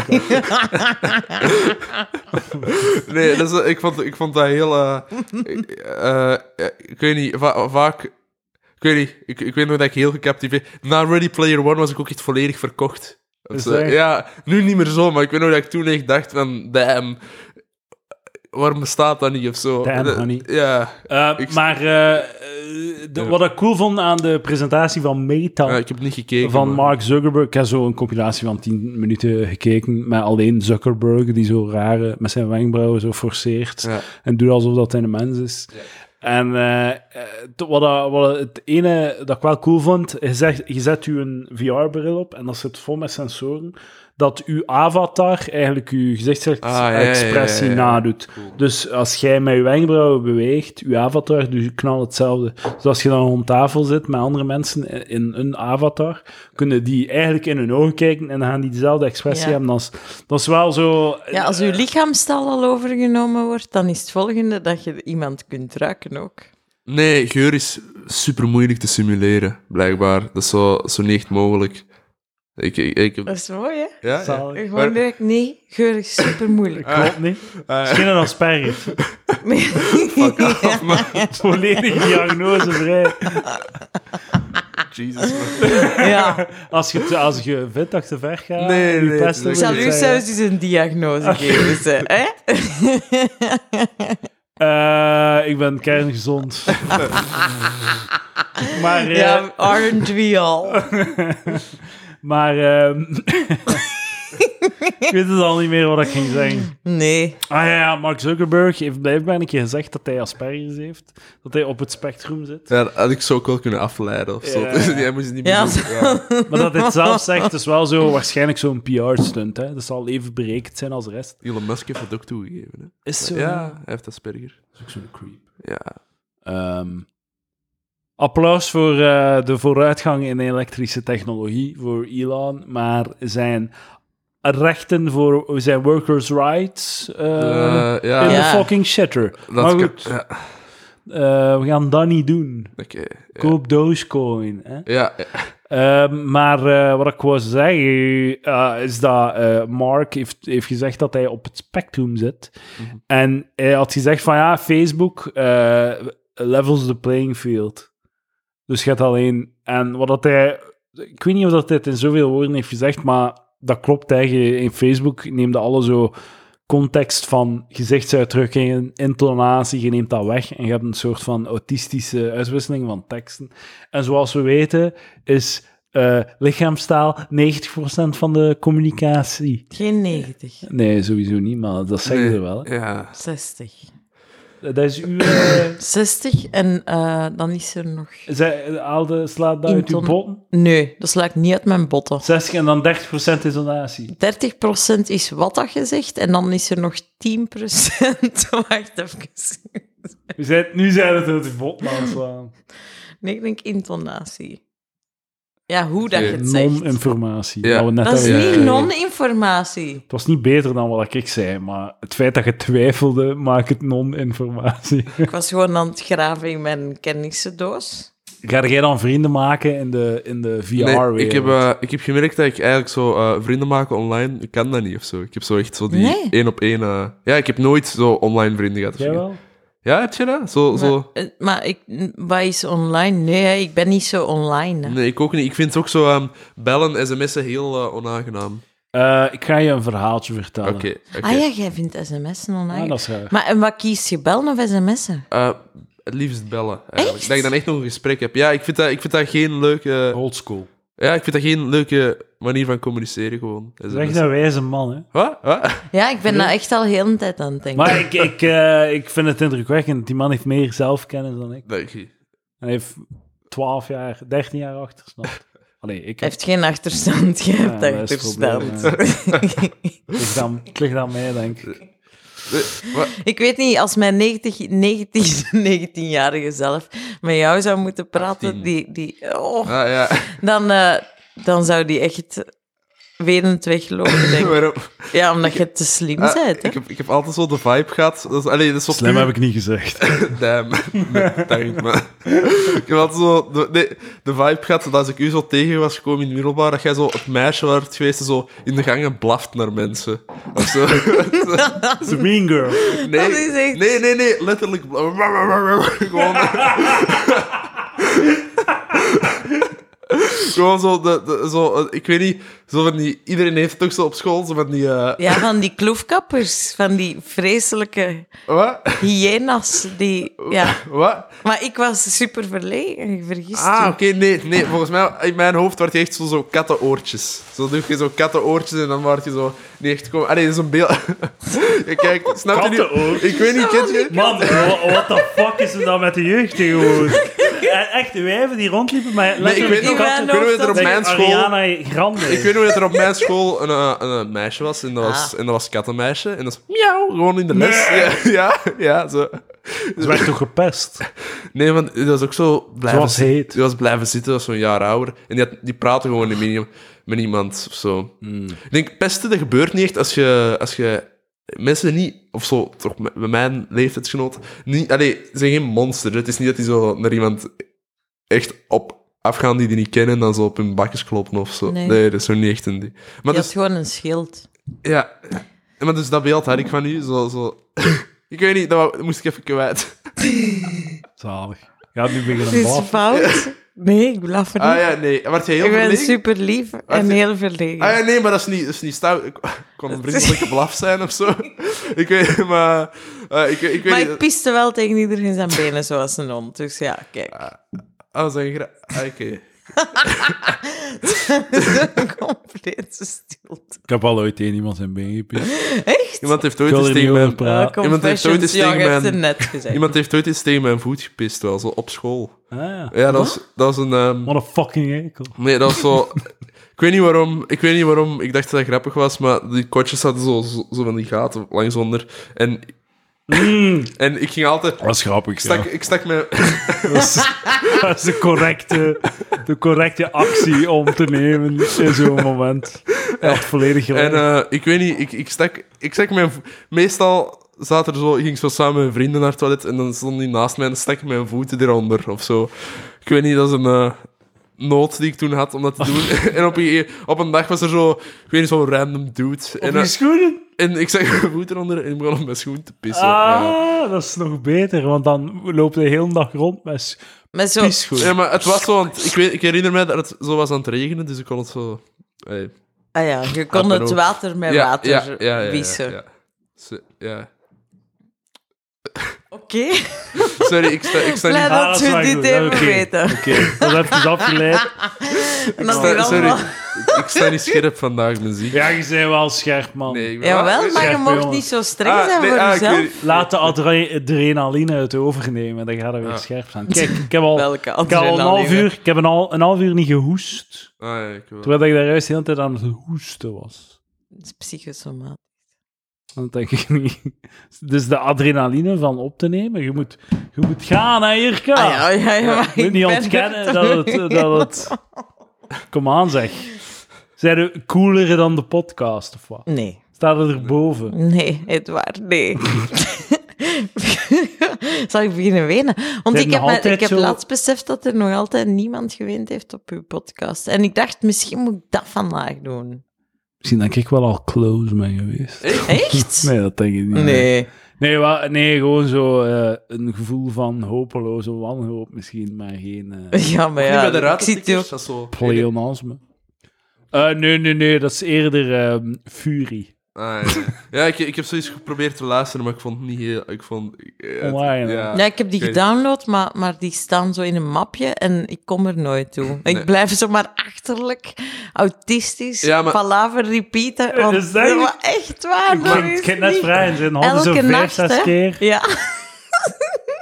Nee, dat is, ik, vond, ik vond dat heel. eh, ik, eh, eh, ik weet niet, va- vaak. Ik weet niet, ik, ik weet nog dat ik heel gecaptiveerd. Na Ready Player One was ik ook echt volledig verkocht.
Is
Dus, eh,
dat echt?
ja, nu niet meer zo, maar ik weet nog dat ik toen echt dacht: van, damn, waarom bestaat dat niet of zo?
Damn,
Dat-
honey.
Ja,
Eh,
Ik-
maar eh, eh, de-
Ja.
wat ik cool vond aan de presentatie van Meta...
eh, ik heb niet gekeken.
van
maar-
Mark Zuckerberg. Ik heb zo een compilatie van 10 minuten gekeken met alleen Zuckerberg, die zo rare, met zijn wenkbrauwen zo forceert
Ja.
en doet alsof dat hij een mens is. En eh, eh, to- wat, dat- wat het ene dat ik wel cool vond, je, zegt, je zet je een VR-bril op en dat zit vol met sensoren dat uw avatar eigenlijk uw
Ah, ja, ja, ja,
gezichtsexpressie
ja, ja.
nadoet. Dus als jij met je wenkbrauwen beweegt, uw avatar doet knal hetzelfde. Dus als je dan om tafel zit met andere mensen in- in een avatar, kunnen die eigenlijk in hun ogen kijken en dan gaan die dezelfde expressie
Ja.
hebben. Dat is, dat is wel zo... eh,
Ja, als uw lichaamstal al overgenomen wordt, dan is het volgende dat je iemand kunt ruiken ook.
Nee, geur is super moeilijk te simuleren, blijkbaar. Dat is zo, zo niet mogelijk. Ik, ik, ik, ja,
Dat is mooi, hè?
ja.
Zalig.
Gewoon
Maar-
direct, nee, geur is super moeilijk.
Ah.
Klopt niet. Het is geen asperger. Volledige diagnosevrij.
Jesus.
ja.
Als je, te- als je vindt dat je te ver gaat,
Nee,
je
nee,
pesten
Ik zal
wil
tuurlijk.
ik
u
zeggen.
zelfs eens een diagnose geven. Ze, hè?
Eh, ik ben kerngezond. maar eh,
Ja, aren't we all?
maar ehm, ik weet het al niet meer wat ik ging zeggen.
Nee.
Ah ja, ja, Mark Zuckerberg heeft blijkbaar een keer gezegd dat hij asperges heeft. Dat hij op het spectrum zit.
Ja, dat had ik zo ook wel kunnen afleiden of zo.
Ja.
Dus jij moest het niet meer
Ja,
doen. Ja.
Maar dat hij het zelf zegt, is wel zo waarschijnlijk zo'n PR-stunt. Dat zal even berekend zijn als de rest.
Elon Musk heeft dat ook toegegeven. Hè.
Is zo.
Ja, hij heeft Asperger.
Dat is ook zo'n creep.
Ja.
Ehm, applaus voor eh, de vooruitgang in elektrische technologie voor Elon, maar zijn rechten voor zijn workers' rights eh,
Eh,
in
ja,
Ja.
de fucking shitter.
dat
maar
kan-
goed,
ja,
eh, we gaan dat niet doen.
oké. ja.
Koop Dogecoin. Hè?
Ja, ja.
Ehm, maar eh, wat ik wou zeggen eh, is dat eh, Mark heeft, heeft gezegd dat hij op het spectrum zit.
Mhm.
En hij had gezegd van ja, Facebook eh, levels the playing field. Dus je hebt alleen... En wat dat hij... Ik weet niet of dat hij het in zoveel woorden heeft gezegd, maar dat klopt eigenlijk. In Facebook neemde alle zo context van gezichtsuitdrukkingen, intonatie, je neemt dat weg en je hebt een soort van autistische uitwisseling van teksten. En zoals we weten is eh, lichaamstaal 90% van de communicatie.
Geen 90.
Nee, sowieso niet, maar dat zeggen
Nee.
ze wel. hè.
Ja.
60.
Dat is uw... eh,
60 en eh, dan is er nog...
zij, haalde, slaat dat uit uw
Inton-
botten.
Nee, dat sluit niet uit mijn botten.
60 en dan 30% is donatie.
30% is wat dat je zegt en dan is er nog 10%. Wacht even.
We zijn, nu zijn het uit uw botten aan het slaan.
Nee, ik denk intonatie. Ja, hoe dat je het zegt.
Non-informatie.
Ja.
wat we net
Dat is
hebben
Ja, ja,
niet
ja.
non-informatie.
Het was niet beter dan wat ik zei, maar het feit dat je twijfelde, maakt het non-informatie.
Ik was gewoon aan het graven in mijn kennissendoos.
Ga jij dan vrienden maken in de, in de VR-wereld?
Nee, ik, heb, eh, ik heb gemerkt dat ik eigenlijk zo eh, vrienden maken online, ik kan dat niet of zo. Ik heb zo echt zo die
Nee.
één op één. eh, ja, ik heb nooit zo online vrienden gehad. of
Jij
zo.
wel?
Ja, heb je dat? Zo,
Maar,
zo.
eh, maar ik, wat is online? Nee, hè, ik ben niet zo online. hè.
Nee, ik ook niet. Ik vind het ook zo ehm, bellen, sms'en heel eh, onaangenaam.
Eh, ik ga je een verhaaltje
Oké,
vertellen.
oké.
Ah ja, jij vindt sms'en online.
Ah, dat is raar.
Maar en wat kies je, bellen of sms'en?
Eh, het liefst bellen, eigenlijk.
Echt?
Dat ik dan echt nog een gesprek heb. Ja, ik vind dat, ik vind dat geen leuke...
Oldschool.
ja, ik vind dat geen leuke manier van communiceren, gewoon. dus-
Dat is echt een nou wijze man, hè.
Wat? Wat?
Ja, ik ben daar echt al heel een tijd aan het denken.
Maar ik, ik, eh, ik vind het indrukwekkend. Die man heeft meer zelfkennis dan ik.
Dank je.
Hij heeft 12 jaar, 13 jaar achtersnapt. Allee, ik
Hij
heb
heeft geen achterstand, jij hebt
Ja, dat is het probleem,
achterstand.
het ligt aan- het ligt aan mij, denk ik.
Eh, wat?
ik weet niet, als mijn 90, 90 19-jarige zelf met jou zou moeten praten,
18.
die, die, oh,
Ah, ja.
dan, eh, dan zou die echt wenend weglopen, denk ik.
Waarom?
Ja, omdat je te slim
Ah,
bent. Hè?
ik, heb, ik heb altijd zo de vibe gehad. Dat is, allee, dat is zo
Slim
puur-
heb ik niet gezegd.
Damn. Nee, dank, man. Ik had zo... De, nee, de vibe gehad dat als ik u zo tegen was gekomen in het middelbaar, dat jij zo het meisje werd geweest en zo in de gangen blaft naar mensen. Of zo.
It's a mean girl.
Nee,
Dat is echt-
nee, nee, nee, letterlijk. bla- bla- bla- bla- bla- bla- Gewoon... Gewoon zo, de, de- zo, eh, ik weet niet, zo van die, iedereen heeft toch zo op school, zo van die, eh,
Ja, van die kloefkappers, van die vreselijke
wat,
hyena's. Die, ja.
wat?
Maar ik was super verlegen, je vergist
Ah, oké,
je.
nee, nee. Volgens mij, in mijn hoofd werd je echt zo, zo kattenoortjes. Zo doe je zo kattenoortjes en dan word je zo niet echt komen. Allee, dat is een beeld. Ja, Kijk, snap je nu?
Kattenoortjes?
Ik weet niet, kent je?
Man, wat de fuck is er dan met de jeugd tegenwoordig? e- echt wijven die rondliepen, maar letterlijk
ik weet
niet waar-
katten.
nog
kunnen we het er op
dat-
mijn
Zeggen,
school...
Ariana Grande.
Ik weet nog dat er op mijn school een, eh, een, eh, meisje was en dat was,
Ah.
en dat was een kattenmeisje. En dat is miauw, gewoon in de les. Ja, ja, ja, zo.
Ze werd toch gepest?
Nee, want die was ook zo blijven,
was
zitten.
heet.
Die was blijven zitten, was zo'n jaar ouder. En die, had, die praatte gewoon niet met, met iemand of zo. Ik denk, pesten, dat gebeurt niet echt als je, als je mensen niet, of zo, toch m- bij mijn leeftijdsgenoot, niet, allee, ze zijn geen monster. Het is niet dat die zo naar iemand echt op afgaan die die niet kennen en dan zo op hun bakjes kloppen of zo. Nee,
Nee.
dat is zo niet echt een ding.
Je
Maar
had
dus,
gewoon een schild.
ja. En Maar dus dat beeld had ik van u, zo... zo. ik weet niet, dat wou- dat moest ik even kwijt.
Zalig. Ja, nu begin
Het
een
is
bal.
fout. Nee, ik blaf er niet.
Ah ja, nee. Werd jij heel
ik ben
verlegen?
super lief en
je-
heel verlegen.
Ah ja, nee, maar dat is niet, dat is niet stout. Ik kon een vriendelijke blaf zijn of zo. ik weet maar... eh, ik, ik weet
maar
niet...
ik piste wel tegen iedereen zijn benen zoals een hond. Dus ja, kijk.
Oh, dat is een gra- ah, Oké.
Een complete stilte.
Ik heb al ooit één iemand zijn been gepist.
Echt?
Iemand heeft
Ik
ooit
wil
eens
er niet
tegen
over
mijn...
Ah,
praten.
iemand heeft ooit eens
confessions. Ja,
tegen
je hebt
mijn-
het net gezegd.
Iemand heeft ooit eens tegen mijn voet gepist, wel, zo op school.
Ah, ja.
Ja, dat was, dat was een... ehm,
What a fucking ekel.
Nee, dat was zo... ik, weet niet waarom, ik weet niet waarom ik dacht dat dat grappig was, maar die kotjes hadden zo, zo, zo van die gaten langs onder. En, en ik ging altijd...
Dat is grappig,
Ik stak,
Mm. ja.
ik stak mijn...
Dat is, dat is de, correcte, de correcte actie om te nemen in zo'n moment. Hij had volledig gelijk.
En eh, ik weet niet, ik, ik, stak, ik stak mijn... vo- Meestal zat er zo, ik ging zo samen met mijn vrienden naar het toilet en dan stond die naast mij en stak ik mijn voeten eronder of zo. Ik weet niet, dat is een eh, nood die ik toen had om dat te doen. en op een, op een dag was er zo, ik weet niet, zo'n random dude. En,
Op je
eh,
schoenen?
en ik stak mijn voeten eronder en ik begon op mijn schoen te pissen. Ja.
Ah, dat is nog beter, want dan loopt hij de hele dag rond met s-
Met zo...
pieschoenen.
Ja, maar het was zo, want ik, weet, ik herinner mij dat het zo was aan het regenen, dus ik kon het zo... Hey.
Ah ja, je kon
maar
het
ook.
water met water wissen.
ja. Zo- ja.
Oké,
Sorry, ik sta, ik sta niet...
blij
Ah,
dat
dat is
we
wel
dit
goed.
even
Oké.
weten.
Oké, dat heb je afgeleid.
En dat
sta-
hier
sorry,
allemaal...
ik, ik sta niet scherp vandaag, mijn ziek.
Ja, je bent wel scherp, man.
Nee, ik ben-
Jawel,
Ah,
maar je
Scherpe
mocht
jongen.
niet zo streng
ah,
zijn
nee,
voor
ah, ik
jezelf.
weet-
Laat de adre- adrenaline het overnemen, dan gaat hij weer scherp zijn. Kijk, ik heb al,
Welke
ik heb al een half
adrenaline.
uur, ik heb een, al, een half uur niet gehoest.
Ah, ja, ik wel.
Terwijl ik daar juist de hele tijd aan het hoesten was.
Dat is psychosomaat.
Dat denk ik niet. Dus de adrenaline van op te nemen, je moet, je moet gaan, hè, Jirka.
Ah ja, ja, ja, maar
je moet
ik
niet
ben er
ontkennen
toch
dat het, dat het... Kom aan, zeg. Zijn we cooler dan de podcast, of wat?
Nee,
Staat het erboven?
nee, Edouard, nee. Zal ik beginnen wenen? Want
Zijn
ik heb,
nog
mij-
altijd
ik heb
zo-
laatst beseft dat er nog altijd niemand gewend heeft op uw podcast. En ik dacht, misschien moet ik dat vandaag doen.
Misschien dat ik wel al close ben geweest.
Echt?
Nee, dat denk ik niet.
Nee.
Nee, wa- nee gewoon zo eh, een gevoel van hopeloze wanhoop misschien, maar geen... eh,
Ja, maar
Niet
ja, ik zie
bij de
het
ruitentikkers,
ook.
dat is zo...
Pleonasme. Eh, nee, nee, nee, dat is eerder ehm, furie.
Ah, ja. ja, ik, ik heb zoiets geprobeerd te luisteren, maar ik vond het niet heel... Ik vond... ik- eh, het-
Online, hè?
ja.
Ja, ik heb die
Oké.
gedownload, maar, maar die staan zo in een mapje en ik kom er nooit toe.
Nee.
Ik blijf zomaar achterlijk, autistisch,
Ja, maar-
palaver repeaten. Want,
Is dat-
Maar echt waar,
Ik
dat
ging
is
het ging net
niet-
vrij in zijn handen, zo
Elke
vijf,
nacht,
zes
hè?
keer.
Ja,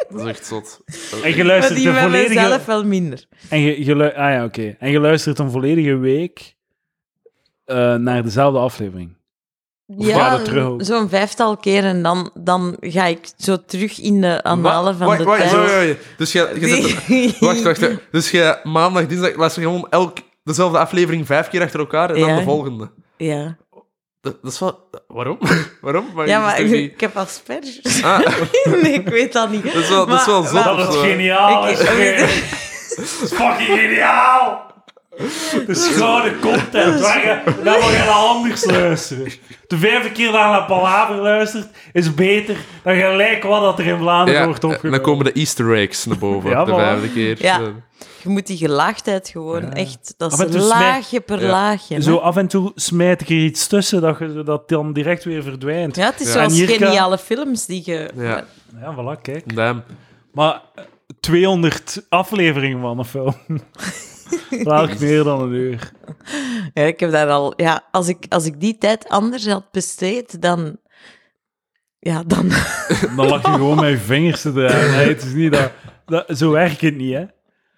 Dat is echt zot.
En je
maar
luistert
die
een
bij mezelf
volledige...
wel minder.
En je, je lu- ah ja, oké. En je luistert een volledige week eh, naar dezelfde aflevering. gaat het terug
Ja,
ook?
zo'n vijftal keer en dan, dan ga ik zo terug in de analen van
Wa-
de
wa- wa-
tijd.
wa- wa- wa- Dus jij... je zet-
Die-
Wacht, wacht. hè. Dus jij maandag, dinsdag luister je gewoon elk... Dezelfde aflevering vijf keer achter elkaar en dan
Ja.
de volgende.
Ja,
Dat, dat is wel... Waarom? Waarom? Maar
ja
dat
maar
is
ik,
toch niet-
heb asperges.
Ah,
nee, ik weet dat niet.
dat is wel, dat is wel
Maar-
zot.
maar-
Dat is
of zo.
geniaal.
Ik-
is Dat is fucking geniaal. Dat is gouden content. Waar je, daar mag je naar anders luisteren. De vijfde keer dat je naar Palaver luistert, is beter dan gelijk wat dat er in Vlaanderen
Ja,
wordt
en
opgenomen.
dan komen de easter eggs naar boven,
Ja,
de
voilà.
vijfde keer. Eh,
Ja.
Zo.
Je moet die gelaagdheid gewoon echt... Dat
Ah, maar
is
dus
laagje per
Ja.
laagje. hè.
Zo af en toe smijt ik er iets tussen dat je dat dan direct weer verdwijnt.
Ja, het is
Ja.
zoals
En hier kan-
geniale films die je...
Ja,
Ja, voilà, kijk.
damn.
Maar eh, 200 afleveringen van een film. Laat meer dan een uur.
Ja, ik heb daar al... Ja, als ik, als ik die tijd anders had besteed, dan... Ja, dan...
Dan lag je gewoon met je vingers te draaien. Nee, het is niet dat, dat... Zo werkt het niet, hè.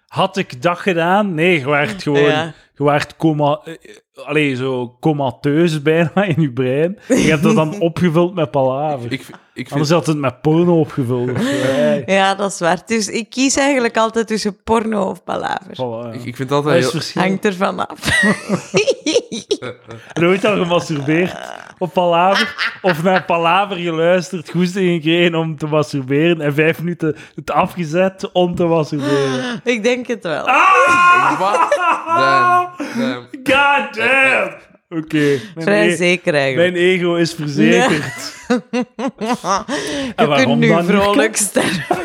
Had ik dat gedaan? Nee, je werd gewoon...
Ja.
Je werd coma... eh, eh, allee, zo comateus bijna in je brein. Je hebt dat dan opgevuld met palaver.
Ik, ik vind
Anders had het met porno opgevuld. of zo. Hey,
Ja, dat is waar. Dus ik kies eigenlijk altijd tussen porno of palaver.
voilà.
Ik, ik vind
Dat
altijd
is
heel...
verschil.
Hangt ervan af.
Nooit al gemasturbeerd op palaver. Of naar palaver geluisterd, goesting gekregen om te masturberen. En vijf minuten het afgezet om te masturberen.
ik denk het wel.
Ah,
Wat? Damn, damn.
God damn! Oké. mijn
Vrij
e-
zeker eigenlijk.
Mijn ego is verzekerd.
Je kunt
ah, waarom
nu
dan niet?
vrolijk sterven.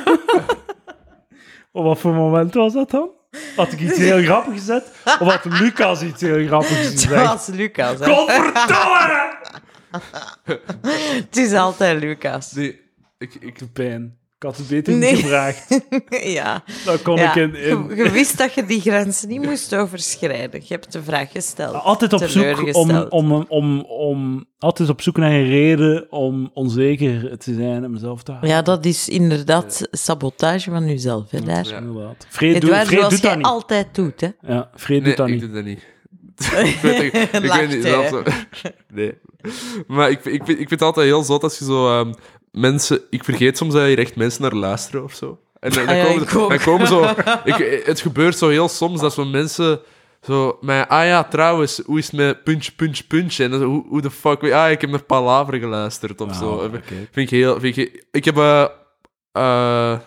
Op wat voor moment was dat dan? Had ik iets heel grappigs gezet? Of had Lucas iets heel grappigs
Het
gezegd?
was Lucas. hè.
Godverdomme!
Het is altijd Lucas.
Nee, ik, ik,
De pijn. Ik had het beter niet
Nee.
gevraagd.
ja.
Dan kon
ja.
ik in... in-
Je, je wist dat je die grens niet moest overschrijden. Je hebt de vraag gesteld.
Altijd op zoek om,
Teleurgesteld.
om, om, om... Altijd op zoek naar een reden om onzeker te zijn en mezelf te houden.
Ja, dat is inderdaad sabotage van jezelf. Hè, daar.
Ja.
Inderdaad. Vreed, doe,
Edouard,
Vreed
zoals
doet
jij
dat niet.
altijd doet. Hè?
Ja, Vreed
nee,
doet dat
ik
niet.
doe dat niet. ik weet, ik, ik weet
Lacht,
niet,
hè?
zelfs, nee. Maar ik, ik, vind- ik vind het altijd heel zot als je zo ehm, mensen... Ik vergeet soms dat hier echt mensen naar luisteren of zo. En dan, dan
Ah ja,
komen,
ik
ze-
ook.
dan komen zo... Ik, het gebeurt zo heel soms dat zo mensen... Zo, maar ah ja, trouwens, hoe is het met puntje, puntje, puntje? En dan zo, hoe, hoe de fuck... weet- Ah, ik heb naar Palaver geluisterd of
Ah,
zo.
oké.
Vind ik heel... Vind ik, ik heb... eh, eh,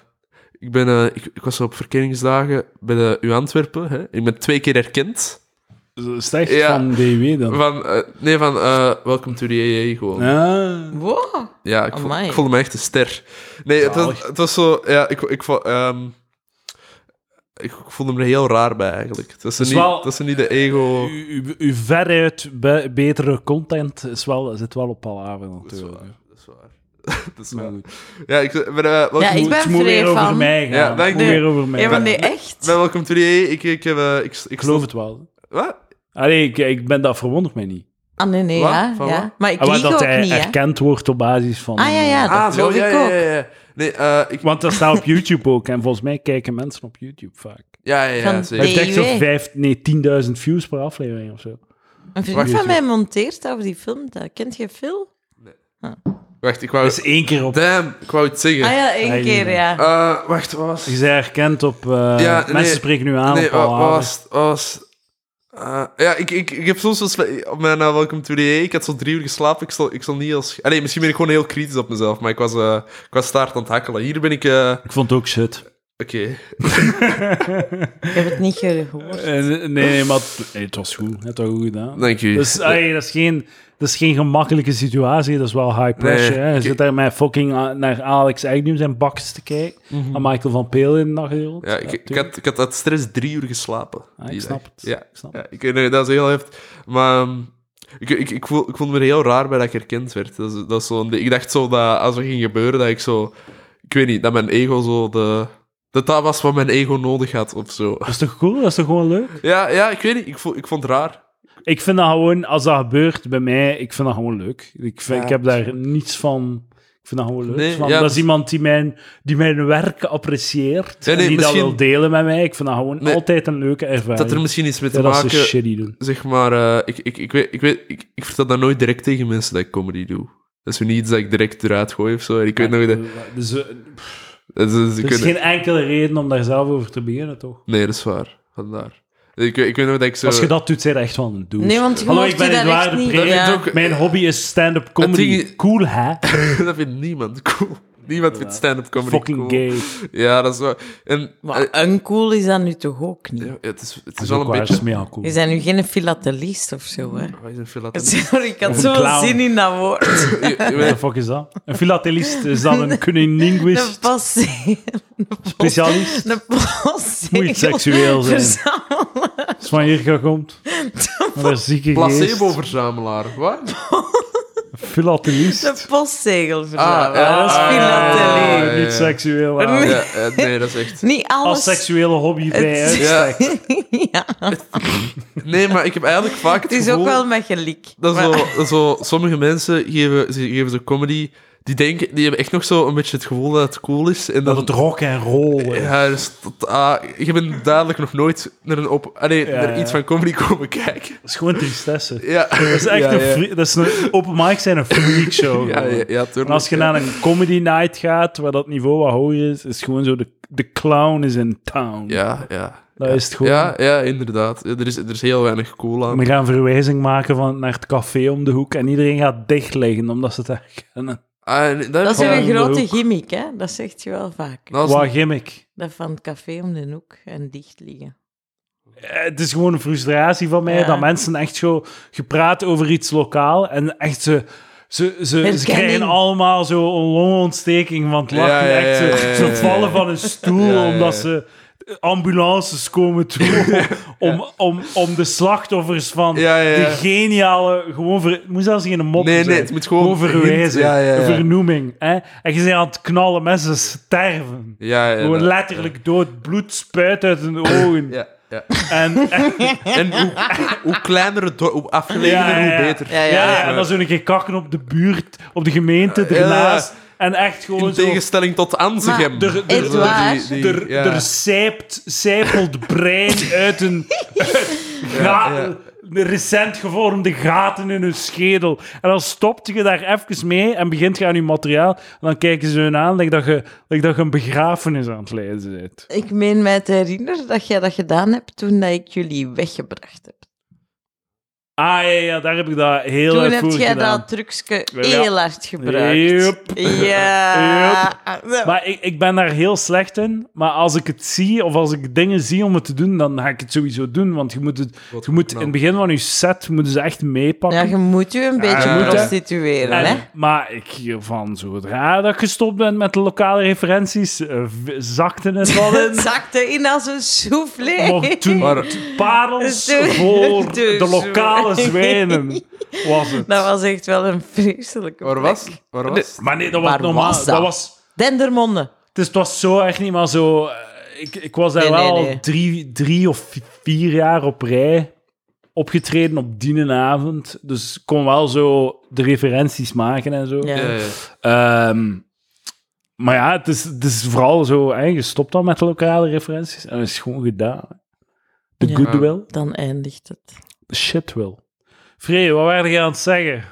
ik, ben, eh, ik, ik was op verkenningsdagen bij de U Antwerpen. Hè? Ik ben twee keer herkend.
Slecht
Ja.
van DW dan.
Van, eh, nee, van eh Welcome to the AA gewoon. Ja,
Ah.
Wow.
ik, vo-
Amai.
ik voelde me echt een ster. Nee, het was,
Zalig.
het was zo... Ja, ik, ik, vo- ehm, ik voelde me er heel raar bij, eigenlijk. Het was,
is
niet,
wel-
het was niet de ego...
U, u, u veruit be- betere content is wel, zit wel op palaver
Dat is
natuurlijk.
waar. Dat is waar. Dat is
Maar
waar.
goed.
Ja, ik, ben, eh, welkom-
Ja, ik
Het
ben
moet weer
vrij
over
van-
mij gaan.
Ja,
Het
dank
moet
je.
weer over mij
Ja, maar
gaan.
nee,
Ik
echt?
bij Welcome to the AA. Ik, ik, heb, eh, ik, ik
geloof het wel.
Wat?
Allee, ik, ik ben dat verwonderd mij niet.
Ah, nee, nee,
Wat?
ja.
Van wat?
ja. Maar ik
Ah, maar
lieg
dat
ook
hij
niet, hè.
erkend wordt op basis van...
Ah, ja, ja, dat
Ah, zo,
geloof
ja,
ik
ja,
ook.
ja, ja. Nee, eh, ik...
Want dat staat op YouTube ook. En volgens mij kijken mensen op YouTube vaak.
Ja, ja, ja,
Van
Hij
zeker.
heeft echt zo'n
DUW.
vijf, nee, 10.000 views per aflevering of zo.
Een vriend
Wacht.
van mij monteert dat of die filmt dat. Kent je Phil?
Wacht, ik wou...
Dat is één keer op...
Damn, ik wou iets zeggen.
Ah ja, één
Hij-
keer, ja.
Eh, wacht, wat was...
Je bent erkend op... eh, mensen
nee.
spreken nu aan
nee,
op
wa- wa-
palaver.
was, was, eh, ja, ik, ik, ik heb soms wel spe- op mijn eh, Welcome to the AA, ik had zo drie uur geslapen, ik zal, ik zal niet als... Allee, misschien ben ik gewoon heel kritisch op mezelf, maar ik was, eh ik was staart aan het hakkelen. Hier ben ik... eh,
Ik vond het ook shit.
Oké.
Ik heb het niet gehoord.
Eh, nee, nee, maar het, eh, het was goed. Het was goed gedaan.
Dank u.
Dus, allee, dat, is geen, dat is geen gemakkelijke situatie. Dat is wel high pressure.
Nee,
hè. Je
ik-
zit daar met fucking a- naar Alex Agnew zijn bakjes te kijken. En Michael van Peel in de nacht gerold.
ja, ik, ik,
tuurlijk.
had, ik had uit stress drie uur geslapen.
Ah,
die
ik
dag.
snap het.
Ja,
Ik snap
ja ik, nee, dat is heel heftig. Maar ehm, ik, ik, ik, voel, ik vond me er heel raar bij dat ik herkend werd. Dat is, dat is zo'n ding. ik dacht zo dat als er ging gebeuren, dat ik zo... Ik weet niet, dat mijn ego zo de... Dat dat was wat mijn ego nodig had, of zo.
Dat is toch cool? Dat is toch gewoon leuk?
Ja, ja ik weet niet. Ik vond, ik vond het raar.
Ik vind dat gewoon, als dat gebeurt bij mij, ik vind dat gewoon leuk. Ik, vind, ik heb daar niets van... Ik vind dat gewoon leuk.
Nee,
van,
ja,
dat is
dus-
iemand die mijn, die mijn werk apprecieert.
Nee, nee,
en die
misschien-
dat wil delen met mij. Ik vind dat gewoon
Nee.
altijd een leuke ervaring.
Dat er misschien iets mee te
ja, dat ze
maken...
shitty doen.
Zeg maar, eh, ik, ik, ik, weet, ik, weet, ik, ik vertel dat nooit direct tegen mensen dat ik comedy doe. Dat is niet iets dat ik direct eruit gooi of zo. En ik weet nog... Dat,
Dus, eh,
dat is, ik
Er is
weet nog-
geen enkele reden om daar zelf over te beginnen, toch?
Nee, dat is waar. Vandaar. Ik, weet- ik weet nog dat ik zo...
Als je dat doet, zijn echt van een douche.
Nee, want je
Hallo,
mocht
ik ben
je daar
Edouard
echt
de
niet-
Pre.
Ja.
ook-
Mijn hobby is stand-up
ding
comedy.
is-
Cool, hè?
dat vindt niemand cool. Niemand vindt stand-up comedy
Fucking
cool.
gay.
Ja, dat is waar. En... eh,
Maar uncool is dat nu toch ook niet?
ja, het is, het
Dat
is
is
wel
ook
een
waar,
beetje...
dat is mega cool.
Je bent nu geen filatelist of zo, hè?
Wat is een filatelist?
Sorry, ik had
een
zoveel
clown.
zin in dat woord.
Je- je
What the
weet-
fuck is dat? Een filatelist? Is dat een
Een
cunnilinguist?
passie.
Specialist?
Een passie.
Moet seksueel zijn.
Verzamelen.
Is van hier gekomt? Met een zieke geest.
Placebo-verzamelaar. Wat?
Filatelist?
De postzegel
Ah,
verzamelen.
ja,
dat is
ah,
filatelie.
ja, ja, ja.
Niet seksueel. hè.
Nee.
Ja, eh, nee, dat is echt...
Niet
Als
alles.
seksuele hobby bij uitstek.
Ja,
ja.
nee, maar ik heb eigenlijk vaak het,
Het is
gevoel
ook wel met gelik.
dat,
Maar-
zo, dat zo, sommige mensen geven, ze geven zo comedy Die, denken, die hebben echt nog zo een beetje het gevoel dat het cool is. En
Dat
dan,
het rock en roll is.
Ja, dus dat- ah, ik ben duidelijk nog nooit naar, een op, ah, nee,
Ja,
naar
ja.
iets van comedy komen kijken.
Dat is gewoon tristesse.
Ja.
Dat is echt
ja,
een,
ja.
free- dat is een open mic zijn een freak show.
Ja, ja, ja, tuurlijk,
En als je
ja.
naar een comedy night gaat, waar dat niveau wat hoger is, is gewoon zo de, de clown is in town.
Ja, ja.
Dat
ja.
is het gewoon.
Ja, ja inderdaad. Ja, Er is, er is heel weinig cool aan.
We gaan verwijzing maken van, naar het café om de hoek en iedereen gaat dicht liggen omdat ze het echt kennen.
Ah, en daar-
Dat is weer
Gewoon
een
om de
grote
hoek.
gimmick, hè? Dat zegt je wel vaak.
dat is-
Wat gimmick.
Dat van het café om de hoek en dicht liggen.
Eh, Het is gewoon een frustratie van mij
Ja.
dat mensen echt zo gepraat over iets lokaal en echt ze. Ze, ze, ze
Herkenning.
krijgen allemaal zo'n longontsteking van het lachen.
Ja, ja,
echt, ze,
ja, ja, ja,
ze
ja.
vallen van een stoel
Ja, ja, ja.
omdat ze ambulances komen toe om, om, om, om de slachtoffers van
Ja, ja, ja.
de geniale... Gewoon ver, het moet zelfs geen mop
Nee, nee,
zijn.
het moet gewoon
verwijzen.
hint- ja, ja, ja.
Een vernoeming. Hè? En je bent aan het knallen, mensen sterven.
ja, ja,
Gewoon
dat-
letterlijk dood. Bloed spuit uit hun ogen.
Ja, ja.
En,
En hoe, hoe kleiner het dorp, hoe afgelegener, hoe beter.
Ja,
Ja,
ja,
ja,
ja.
en dan zullen je kakken op de buurt, op de gemeente
Ja, ja.
ernaast. En echt
In
gewoon zo...
tegenstelling tot Anzegem.
Maar-
Er-
Echt waar?
Er,
ja.
er sijpt, sijpelt brein uit een uit ga-
ja.
de recent gevormde gaten in hun schedel. En dan stopt je daar even mee en begint je aan je materiaal. En dan kijken ze hun aan like dat, je, like dat je een begrafenis aan het leiden bent.
Ik meen mij te herinneren dat jij dat gedaan hebt toen dat ik jullie weggebracht heb.
Ah ja, ja, daar heb ik dat heel
toen heb
uitvoerig
jij
gedaan.
dat trucje
Ja.
heel hard gebruikt.
Yep.
Ja.
Maar ik, ik ben daar heel slecht in. Maar als ik het zie, of als ik dingen zie om het te doen, dan ga ik het sowieso doen. Want je moet, het,
Wat
je moet in
nou?
het begin van je set moeten ze echt meepakken.
Ja, je moet je
Ah,
een beetje
je moet, hè.
prostitueren,
En-
hè?
maar ik hiervan, zodra dat ik gestopt ben met de lokale referenties, eh, v- zakte het wel in.
Het zakte in als een soufflé.
Maar toen
Maar-
parels
Dus-
voor
dus-
de lokale zwijnen was het.
Dat was echt wel een vreselijke
Waar
plek.
was? Waar was?
Maar nee, dat was
Waar
normaal.
was dat?
dat was...
Dendermonde.
Dus het was zo echt niet, maar zo... eh, Ik, ik was daar
Nee, nee,
wel
nee.
Drie, drie of vi- vier jaar op rij opgetreden op die avond. Dus ik kon wel zo de referenties maken en zo.
Ja.
Ja, ja.
Ehm, maar ja, het is, het is vooral zo... Hè, je stopt dan met de lokale referenties en het is gewoon gedaan. De
Ja.
goodwill,
Dan eindigt het.
de shitwill. Vree, wat waren jij aan het zeggen?
Ik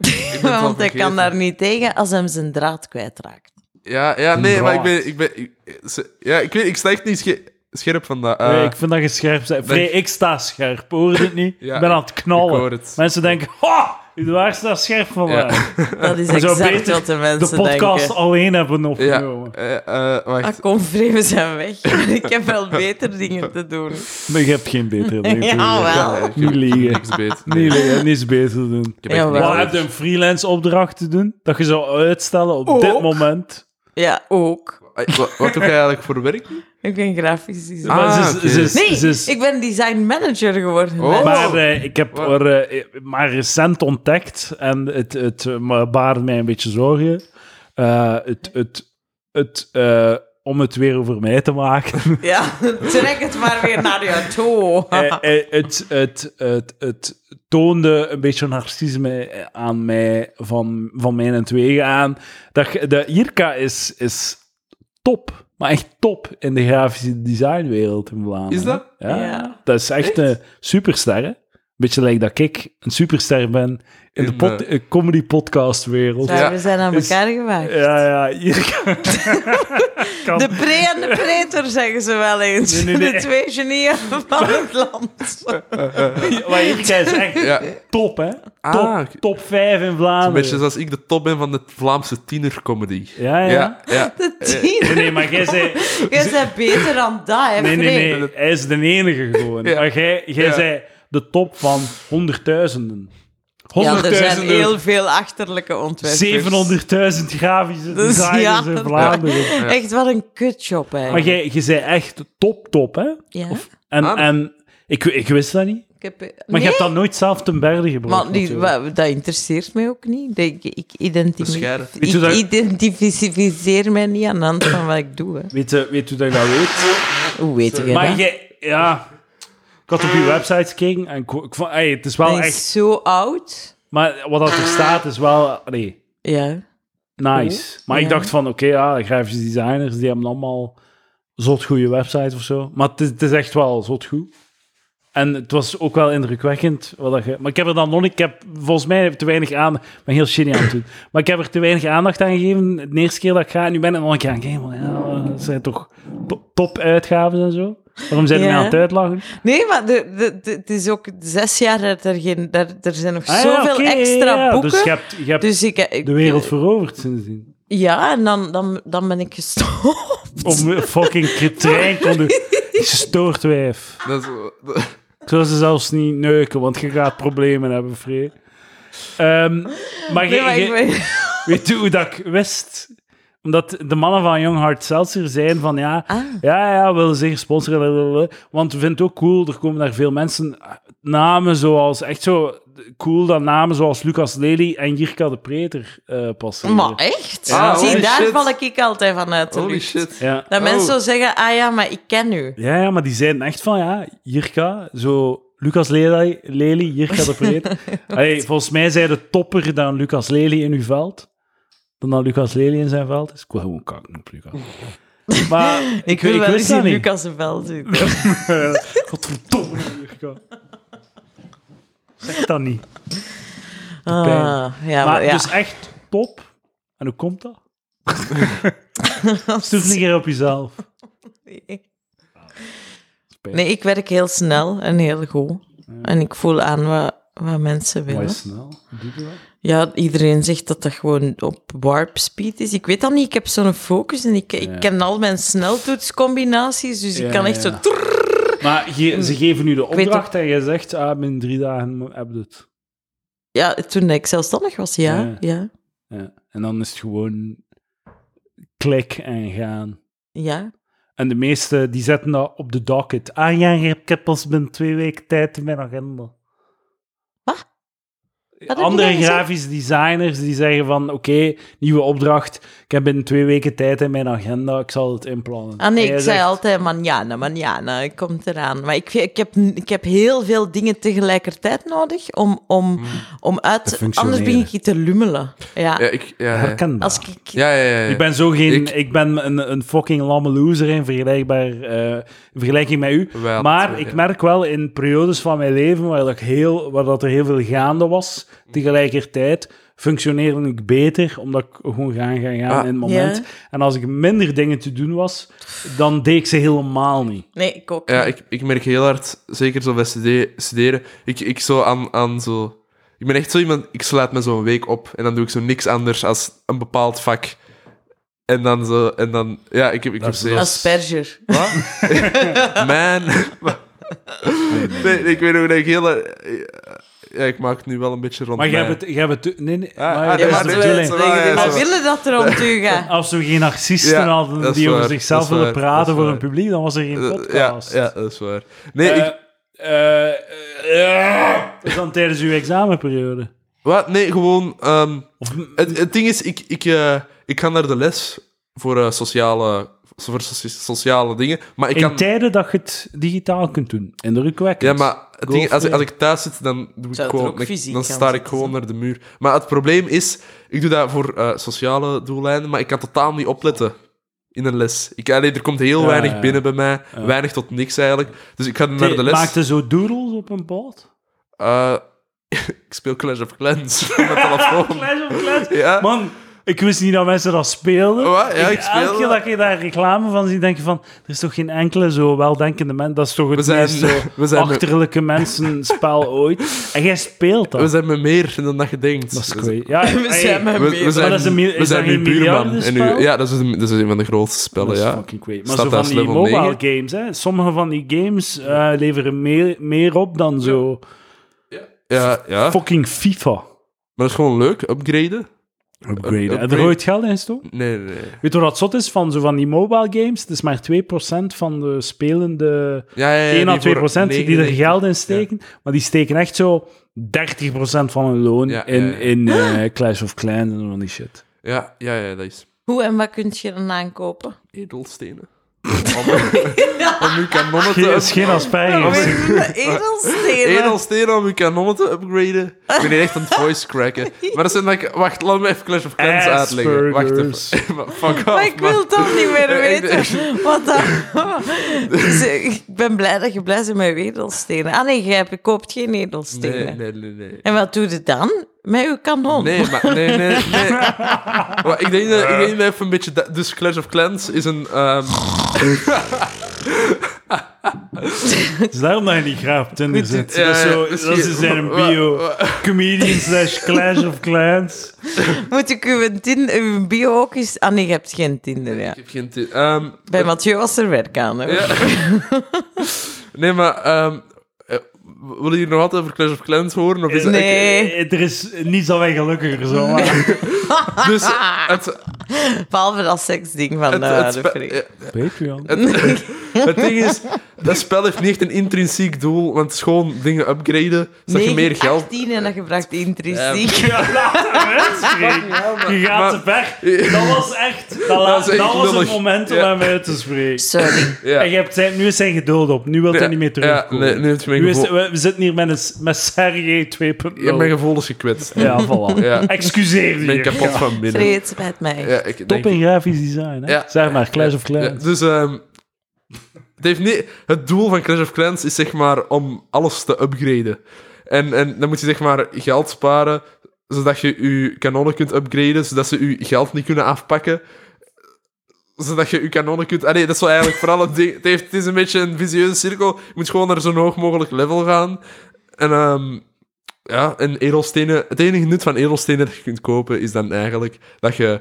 ben het al
Want hij
vergeten.
kan daar niet tegen als hem zijn draad kwijtraakt.
Ja, ja nee, maar ik
draad.
ben... Ik ben ik- ze- ja, ik weet, ik sta echt niet sche- scherp van dat. eh,
Nee, ik vind dat je scherp bent. Vree,
nee.
ik sta scherp, hoor je het niet?
Ja,
ik ben aan het knallen.
ik hoor het.
Mensen denken, ha, Eduard staat scherp vandaag.
Dat is
zou
exact
beter
wat de
de
mensen
podcast
denken.
alleen hebben
ja,
opgenomen.
eh, eh, wacht.
Ah, kom, vreemden zijn weg. ik heb wel beter dingen te doen.
Maar je hebt geen betere dingen.
Ja, wel.
Ja, ik heb
Niet liegen.
Niks beter. Nee,
Nee, nee, je hebt niets beter te doen.
ik heb echt
Ja,
niks
wel.
Wat heb
beter.
je een freelance opdracht te doen? Dat je zou uitstellen op
Oh,
Ook.
dit moment.
Ja, ook.
Eh, wa- Wat doe jij eigenlijk voor werk?
Ik ben grafisch designer.
Ah,
Maar ze is-
oké.
ze is-
Nee,
ze is-
ik ben design manager geworden.
Oh.
hè.
Maar eh, ik heb
Wat?
haar eh, maar recent ontdekt en het, het eh, maar baart mij een beetje zorgen. Eh, het, het, het, eh, om het weer over mij te maken.
Ja, trek het maar weer naar jou toe.
Eh, eh, het, het, het, het toonde een beetje narcisme aan mij, van, van mijn entwegen aan. Dat, je- de Irka is, is top, maar echt top in de grafische designwereld in Vlaanderen.
Is dat?
Ja,
Ja.
dat is echt, een superster. Hè? Beetje lijkt dat ik een superster ben in de
In
pod-
de-
eh, comedy podcast wereld.
Daar,
Ja.
We zijn aan
Is-
elkaar gewaagd.
Ja, ja, Irka. kan-
De pre- en de pretor, zeggen ze wel eens.
Nee, nee, nee.
De twee genieën van het land.
maar Irka is echt
Ja.
top, hè? Top,
Ah, oké.
top 5 in
Een
Vlaanderen.
beetje zoals ik de top ben van de Vlaamse tienercomedy.
Ja, ja.
Ja, ja.
De tien.
Nee, nee, maar jij zei...
Jij bent beter dan dat, hè,
Nee,
Freek?
nee, nee. Hij is de enige gewoon.
Ja.
Maar jij, jij
Ja.
zei de top van honderdduizenden.
Ja, er zijn
Honderdduizenden.
heel veel achterlijke ontwerpers.
700.000 grafische
Dus
designers
ja.
in Vlaanderen.
Echt wel een kutjob,
Maar
eigenlijk.
jij, jij zei echt top, top, hè?
Ja.
En,
Ah.
en ik, ik wist dat niet.
Ik heb...
Maar
nee,
je hebt dat nooit zelf ten berde gebracht.
maar die-
natuurlijk.
wa- dat interesseert mij ook niet. Dat Ik, ik, identif-
Bescheiden.
Weet je
ik
dat-
identificeer mij niet aan de hand van wat ik doe. Hè.
Weet, je- weet hoe dat je dat weet?
Hoe weet je
Maar
dat?
jij... Ja... Ik had op je website gekeken en ik, ik vond... ey, het is wel
Dat
echt...
is zo oud.
Maar wat dat er staat is wel... Nee.
Ja.
Nice. Maar
Ja.
ik dacht van, oké, ja, de grafisch designers, die hebben allemaal zot goede websites of zo. Maar het is, het is echt wel zot goed. En het was ook wel indrukwekkend. Wat dat ge... Maar ik heb er dan nog niet... Ik heb volgens mij te weinig aan... Ik ben heel shitty aan het doen. Maar ik heb er te weinig aandacht aan gegeven. De eerste keer dat ik ga, en nu ben ik nog een keer aan het kijken van, Ja, dat zijn toch po- topuitgaven en zo? Waarom zijn die
Ja.
mij aan het uitlachen?
Nee, maar de, de, de- het is ook zes jaar dat er geen... Daar, er zijn nog
Ah ja,
zoveel
oké, ja,
extra
ja, ja.
boeken.
Dus je hebt, je hebt
Dus ik, ik-
de wereld veroverd sindsdien.
Ja, en dan, dan, dan ben ik gestopt.
Om een fucking trein kon doen. Gestoord wijf.
Dat is-
Ik zou ze zelfs niet neuken, want je gaat problemen hebben, Free. Ehm, maar je,
Nee, maar
je-
ik ben-
weet je hoe dat ik wist? Omdat de mannen van Young Hard Seltzer zeiden van ja,
Ah.
ja, ja, we willen zeker sponsoren. blablabla. Want we vinden het ook cool, er komen daar veel mensen. Namen zoals, echt zo cool, dat namen zoals Lucas Lely en Jirka de Preter eh passeren.
Maar echt?
Ja,
Zie,
Ah, holy
daar
shit.
val ik ik altijd van uit. de
holy
lucht.
shit.
Ja.
Dat
Oh.
mensen zo zeggen, ah ja, maar ik ken u.
Ja, ja, maar die zeiden echt van, ja, Jirka, zo... Lucas Lely, Lely Jirka de Vreed. Allee, volgens mij zei de topper dan Lucas Lely in uw veld. Dan dat Lucas Lely in zijn veld is. Ik wil gewoon kakken op Lucas. Maar ik,
Ik
weet-
wil
ik
wel
wist
eens
dat
in
niet. Eh,
Lucas een veld zien.
Godverdomme, Jirka. Zeg dat niet.
Ah, ja, maar,
Maar
ja.
dus echt top. En hoe komt dat? Stuur het een keer op jezelf.
Nee, ik werk heel snel en heel goed. En ik voel aan wat, wat mensen
Mooi
willen.
snel. Doe je dat?
Ja, iedereen zegt dat dat gewoon op warp speed is. Ik weet dat niet, ik heb zo'n focus en ik,
Ja.
ik ken al mijn sneltoetscombinaties, dus
Ja,
ik kan
ja.
echt zo... trrr.
Maar je- ze geven nu de
weet
opdracht en je zegt, ah, binnen drie dagen heb je het.
Ja, toen ik zelfstandig was, ja.
Ja.
ja. ja.
Ja. En dan is het gewoon klik en gaan. En de meesten die zetten dat op de docket. Ah ja, ik heb pas binnen twee weken tijd in mijn agenda.
Wat? heb ik
Andere
niet gezegd?
grafisch designers die zeggen van, oké, nieuwe opdracht. Ik heb binnen twee weken tijd in mijn agenda. Ik zal het inplannen.
Ah nee,
En jij
ik zei
zegt,
altijd manjana, manjana, ik kom eraan. Maar ik, ik, heb, ik heb heel veel dingen tegelijkertijd nodig om, om, om
Te
uit...
functioneren.
Anders begin ik te lummelen. Ja,
Ja, ik... Ja, ja.
Herken dat.
als ik...
Ja, ja, ja, ja.
Ik ben zo geen... Ik,
Eh, Ik-
ben een, een fucking lamme loser in, vergelijkbaar, eh, in vergelijking met u.
Wel,
maar
eh,
ik
ja.
merk wel in periodes van mijn leven waar, dat ik heel, waar dat er heel veel gaande was, tegelijkertijd functioneerde ik beter, omdat ik gewoon gaan, gaan, gaan
Ah.
in het moment.
Ja.
En als ik minder dingen te doen was, dan deed ik ze helemaal niet.
Nee, ik ook
Ja,
niet.
ik, ik merk heel hard, zeker zo bij stude- studeren, ik, ik zo aan, aan zo... Ik ben echt zo iemand, ik sluit me zo een week op en dan doe ik zo niks anders als een bepaald vak. En dan zo, en dan... Ja, ik heb, ik heb zo...
Asperger.
Wat? Man. nee, nee, ik weet ook dat ik heel... eh, Ja, ik maak het nu wel een beetje rond
Maar jij
mij.
hebt het... jij hebt het nee, nee,
Ah,
maar dat
ah,
is
Ja, maar
de
dat
we,
bedoeling.
is wel- waar, ja,
we,
dat is
willen dat er om toe gaat.
Als we geen narcisten
Ja, dat
hadden
is
die over
waar,
zichzelf
dat is
willen
waar,
praten
dat is
voor een
waar.
publiek, dan was er geen
Eh, ja,
podcast.
ja, dat is waar. Nee, ik...
Eh, eh, eh, is dan tijdens uw examenperiode.
Wat? Nee, gewoon... ehm,
Of,
Het, het ding is, ik, ik, eh, ik ga naar de les voor, eh, sociale, voor socia- sociale dingen. Maar ik
in
kan.
tijden dat je het digitaal kunt doen. Indrukwekkend.
Ja, maar het
Go
ding, als, ik-
for
als ik thuis zit, dan, doe ik
Zou het er
gewoon,
ook
dan-
fysiek
dan
aan
sta ik
zitten,
gewoon naar de muur. Maar het probleem is, ik doe dat voor eh, sociale doeleinden, maar ik kan totaal niet opletten in een les. Ik, allee, er komt heel
Ja,
weinig
ja.
binnen bij mij, weinig tot niks eigenlijk. Dus ik ga naar de les.
Maakte zo doodles op een bord?
Eh, ik speel Clash of Clans op mijn telefoon.
Clash of Clans.
Ja.
Man, ik wist niet dat mensen dat speelden.
Wat? Ja, ik speel
Elke keer
dat.
dat je daar reclame van ziet, denk je van... Er is toch geen enkele zo weldenkende mens... Dat is toch
We
het
zijn,
meest zo
we, zijn met,
achterlijke mensenspel ooit. En jij speelt dat.
we zijn met meer dan dat je denkt.
dat is
Dus-
kwijt. Ja,
We
hey,
zijn met
We,
meer.
we zijn,
Maar dat is een mil-
we
is dat
zijn
geen
nu buurman. En
miljardenspel?
nu, ja, dat is, een, dat is een van de grootste spellen,
Dat is
ja.
fucking great. Maar
Staat
zo van
als
die
level
mobile
9.
games, hè. Sommige van die games eh, leveren meer, meer op dan zo
ja, ja. Maar
fucking FIFA.
dat is gewoon leuk, upgraden.
Upgraden. Heb je er
upgrade.
ooit geld in gestoken?
Nee, nee, nee.
Weet je wat zot is van zo van die mobile games? Het is maar 2% van de spelende...
Ja, ja, ja,
1 à
Eh, die
2
voor
die er
99
geld in steken. Maar die steken echt zo 30 van hun loon
Ja,
in,
ja, ja.
in eh, Clash of Clans en van die shit.
Ja, ja, ja, dat is
Hoe en wat kun je dan aankopen?
edelstenen. Om, om uw kanonnen
Geen, is
te...
geen asperges.
Oh, Edelstenen.
Edelstenen om uw kanonnen te upgraden. Ik ben hier echt aan het voice cracken. Maar dat zijn like... Wacht, laat me even Clash of Clans uitleggen. Wacht
Aspergers.
even. Maar Fuck off,
Maar ik
man.
wil het toch niet meer
Ik-
weten. Wat dan? Dus, eh, ik ben blij dat je blij bent met edelstenen. Ah nee, jij koopt geen edelstenen.
Nee, nee, nee, nee.
En wat doe je dan? Met uw kanon?
Nee, maar nee, nee, nee. Maar ik denk dat ik denk dat even een beetje. dat- Dus Clash of Clans is een. ehm,
Het is daarom dat je niet graag op Tinder zit.
ja,
dat is, zo,
ja,
dat is
misschien-
zijn
wa-
bio.
wa-
Comedian slash Clash of Clans.
Moet ik uw, tin, uw bio ook eens... Ah nee, je hebt geen Tinder, ja.
Ik heb geen. ti- ehm,
Bij Mathieu was er werk aan, hoor.
ja. nee, maar. ehm eh, willen jullie nog wat over Clash of Clans horen? Of is het-
Nee.
Dus Ik- eh, er is niets dan wij gelukkiger zo. maar-
Dus het, het,
Behalve dat seksding van
het,
eh, de
spe-
vriend.
eh,
Patreon.
het, het ding is, dat spel heeft niet echt een intrinsiek doel, want het is gewoon dingen upgraden, zodat je meer geld...
18 en dat gebracht intrinsiek.
Ja, laat hem uitspreken. Je gaat ze weg. Dat was echt... Dat, la-
Dat is echt
dat was het
lullig.
moment om
Ja.
hem uit te spreken.
Sorry.
Ja.
En je hebt zijn, nu is zijn geduld op. Nu wil hij
Ja,
niet meer
ja,
terugkomen.
nee, nu heeft mijn
nu is,
gevoel...
we, we zitten hier met, een, s- met Sergej 2.0.
Ja, mijn gevoel is gekwetst. Ik
Ja, voilà.
Ja.
Excuseer je.
ben kapot van binnen.
Vreed met mij.
Ja, ik denk
Top in grafisch design, hè?
Ja.
Zeg maar, Clash of
Ja,
Clans.
dus ehm, het, heeft niet, het doel van Clash of Clans is zeg maar om alles te upgraden. En, en dan moet je zeg maar geld sparen, zodat je je kanonnen kunt upgraden, zodat ze je geld niet kunnen afpakken. Zodat je je kanonnen kunt... Ah nee, dat is wel eigenlijk vooral het ding. Het, heeft, het is een beetje een visieuze cirkel. Je moet gewoon naar zo'n hoog mogelijk level gaan. En ehm, ja, en edelstenen... Het enige nut van edelstenen dat je kunt kopen is dan eigenlijk dat je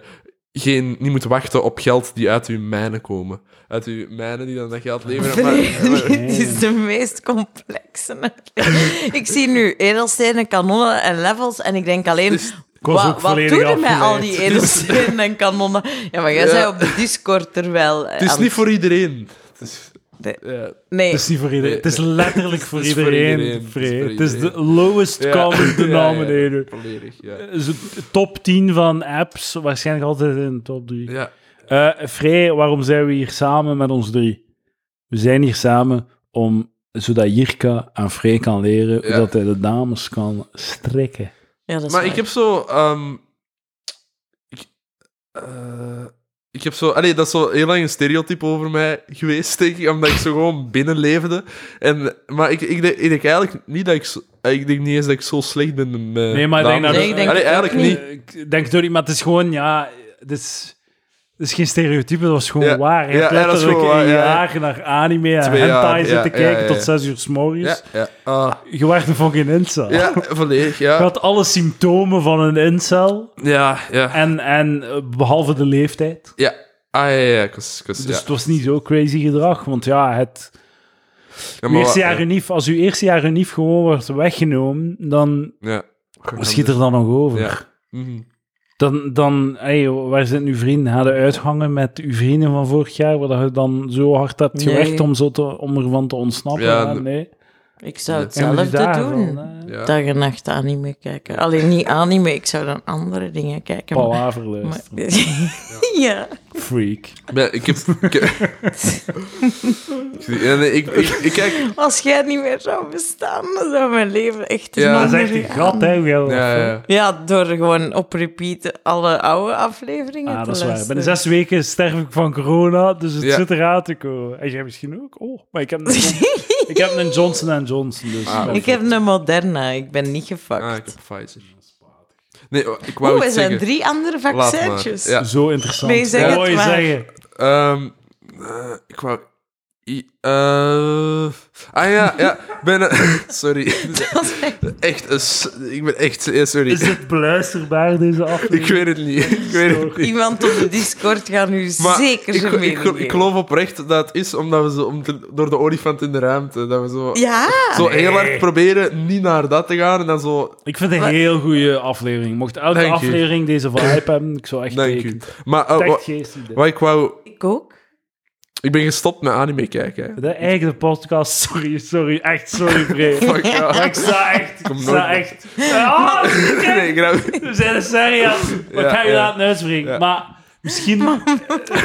geen, niet moet wachten op geld die uit uw mijnen komen. Uit uw mijnen die dan dat geld leveren. Maar, maar-
Dit is de meest complexe. uitleg. ik zie nu edelstenen, kanonnen en levels en ik denk alleen...
Dus-
Ik was
wa-
ook
wat doe
volledig
je met al
afgeleid.
die edelstenen en kanonnen? Ja, maar jij
Ja.
zei op de Discord er wel... eh,
het is
aan-
niet voor dus- iedereen. Het is,
Nee.
ja.
Nee,
Het is niet voor iedereen.
Nee,
Het is letterlijk voor
Het is voor
iedereen.
iedereen. Het is
Free.
voor
Het is de
iedereen.
lowest
Ja.
common
Ja, ja,
denominator.
volledig, ja.
Zo Top 10 van apps, waarschijnlijk altijd in de top 3.
Ja.
Eh Frey, waarom zijn we hier samen met ons drie? We zijn hier samen om, zodat Jirka aan Frey kan leren
Ja.
hoe dat hij de dames kan strikken.
ja, dat is
Maar
waar.
ik heb zo... ehm, ik, eh, ik heb zo... Allee, dat is zo heel lang een stereotype over mij geweest, denk ik. Omdat ik zo gewoon binnenleefde. En, maar ik, ik, denk, ik denk eigenlijk niet dat ik... zo- Ik denk niet eens dat ik zo slecht ben met
Nee, maar ik denk
dames.
dat-
Nee, ik denk
Allee,
het ook
eigenlijk niet.
Ik denk door maar het is gewoon, ja, het is, het is geen stereotype, dat is gewoon
Ja.
waar. Je
Ja,
hebt
ja, dat is
letterlijk
gewoon waar,
een
ja, ja.
jaar naar anime en
Twee jaar,
hentai
ja,
zitten
ja,
kijken
ja, ja.
tot zes uur s morgens.
Ja, ja. Ah,
Je werd een fucking incel.
ja, volledig,
Je
ja.
had alle symptomen van een incel,
Ja, ja.
en, en eh, behalve de leeftijd.
Ja. Ah, ja, ja, ja. Ik was, ik was-
Dus
ja.
het was niet zo crazy gedrag, want ja, het
Ja, maar
eerste
wa-
jaar unief, als uw eerste jaar unief gewoon wordt weggenomen, dan
Ja. dus-
wat schiet er dan nog over.
Ja. Mhm.
Dan, dan hey, waar zijn uw vrienden? Gaan de uithangen met uw vrienden van vorig jaar, waar dat je dan zo hard hebt
Nee.
gewerkt om, zo te, om ervan te ontsnappen?
Ja,
Ja,
de-
nee.
Ik zou
Ja.
hetzelfde
daarvan,
doen.
hè.
Ja.
Dag en nacht anime kijken. Alleen niet anime, ik zou dan andere dingen kijken. maar-
Palaver
maar-
luisteren.
ja.
Freak.
Ja, ik heb... Ik, heb- Ik zie- ja, nee, ik, ik, ik kijk...
Als jij niet meer zou bestaan, dan zou mijn leven echt een
Ja.
Dat is
ander
echt een
gaan.
gat, hè? hoe jij dat
Ja,
vindt.
ja.
Ja, door gewoon op repeat alle oude afleveringen
Ah,
te
dat is waar.
luisteren.
Binnen zes weken sterf ik van corona, dus het
Ja.
zit eraan te komen. En jij misschien ook? Oh, maar ik heb een, ik heb een Johnson Johnson, dus...
Ah,
Ik heb een Moderna, ik ben niet
Ah, ik
gefakt.
heb Pfizer. Nee, wa- ik wou
Oeh, er
iets
zijn
zeggen.
drie andere vaccintjes.
Ja.
Zo interessant.
Nee, zeg
Wat
het
wou je
maar.
zeggen?
Ehm, eh, ik wou... I- eh, ah ja, ja. Ik ben... eh, sorry.
Dat is echt-
Echt een... s- Ik ben echt... eh,
Is
Sorry.
dit beluisterbaar, deze aflevering?
Ik weet het niet. Ik weet het niet.
Iemand op de Discord gaat nu
Maar
zeker
ik,
zijn
ik,
mening
ik,
geven.
ik geloof oprecht dat het is omdat we zo, om te- door de olifant in de ruimte, dat we zo,
Ja,
zo heel hard proberen niet naar dat te gaan en dan zo
Ik vind het een
Wat?
heel goede aflevering. Mocht elke
Dank u.
aflevering deze vibe hebben, ik zou echt
Dank
denken.
u. Maar eh, wa-
Echt geestig. dit.
wat ik wou...
ik ook.
Ah,
Ik ben gestopt met anime kijken. hè.
De eigen podcast, sorry, sorry, echt sorry, Bre.
Fuck ja.
Ik sta echt, ik
Kom
sta
nooit-
echt... Ah,
Nee, ik
we zijn er serieus. Wat
Ja,
kan je
ja.
laten uitspreken?
Ja.
Maar Misschien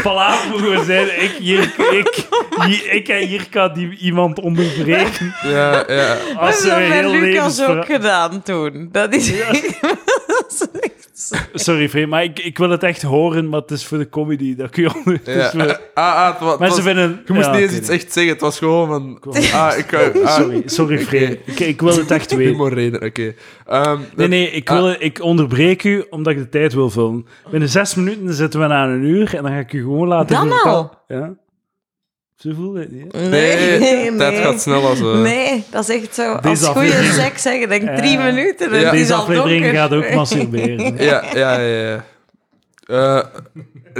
palaver we zijn. Ik, Jirka, ik, Ji- ik en Jirka die iemand onderbreken.
Ja, ja.
Dat
Als ze
hebben
een
we met
heel
Lucas
levensverhaal-
ook gedaan toen. Dat is, dat is echt...
Sorry, Free, maar ik, ik wil het echt horen, maar het is voor de comedy. Dat kun je onder...
ja.
dus we-
Ah, ah, het wa- het
Mensen
was-
vinden...
Je moest
ja,
niet eens
oké.
iets echt zeggen. Het was gewoon van... Ah, ik ga... Ah,
Sorry, sorry Free. Ik, ik wil het echt weten.
Humorreden, oké. Ehm,
Nee,
dat-
nee, ik, wil, ik onderbreek u omdat ik de tijd wil vullen. Binnen zes minuten zitten we aan een uur en dan ga ik u gewoon laten
Dan
vertellen-
al?
Ja. Ze voelde het niet. hè?
Nee,
Nee, nee,
dat gaat snel als... eh,
Nee, dat is echt zo. Als
Deze
goede
aflevering-
seks zeggen, denk
Ja.
drie minuten. en
Ja.
het is
Deze
al
aflevering
donker.
gaat ook masturberen.
Ja, ja, ja. ja. Eh,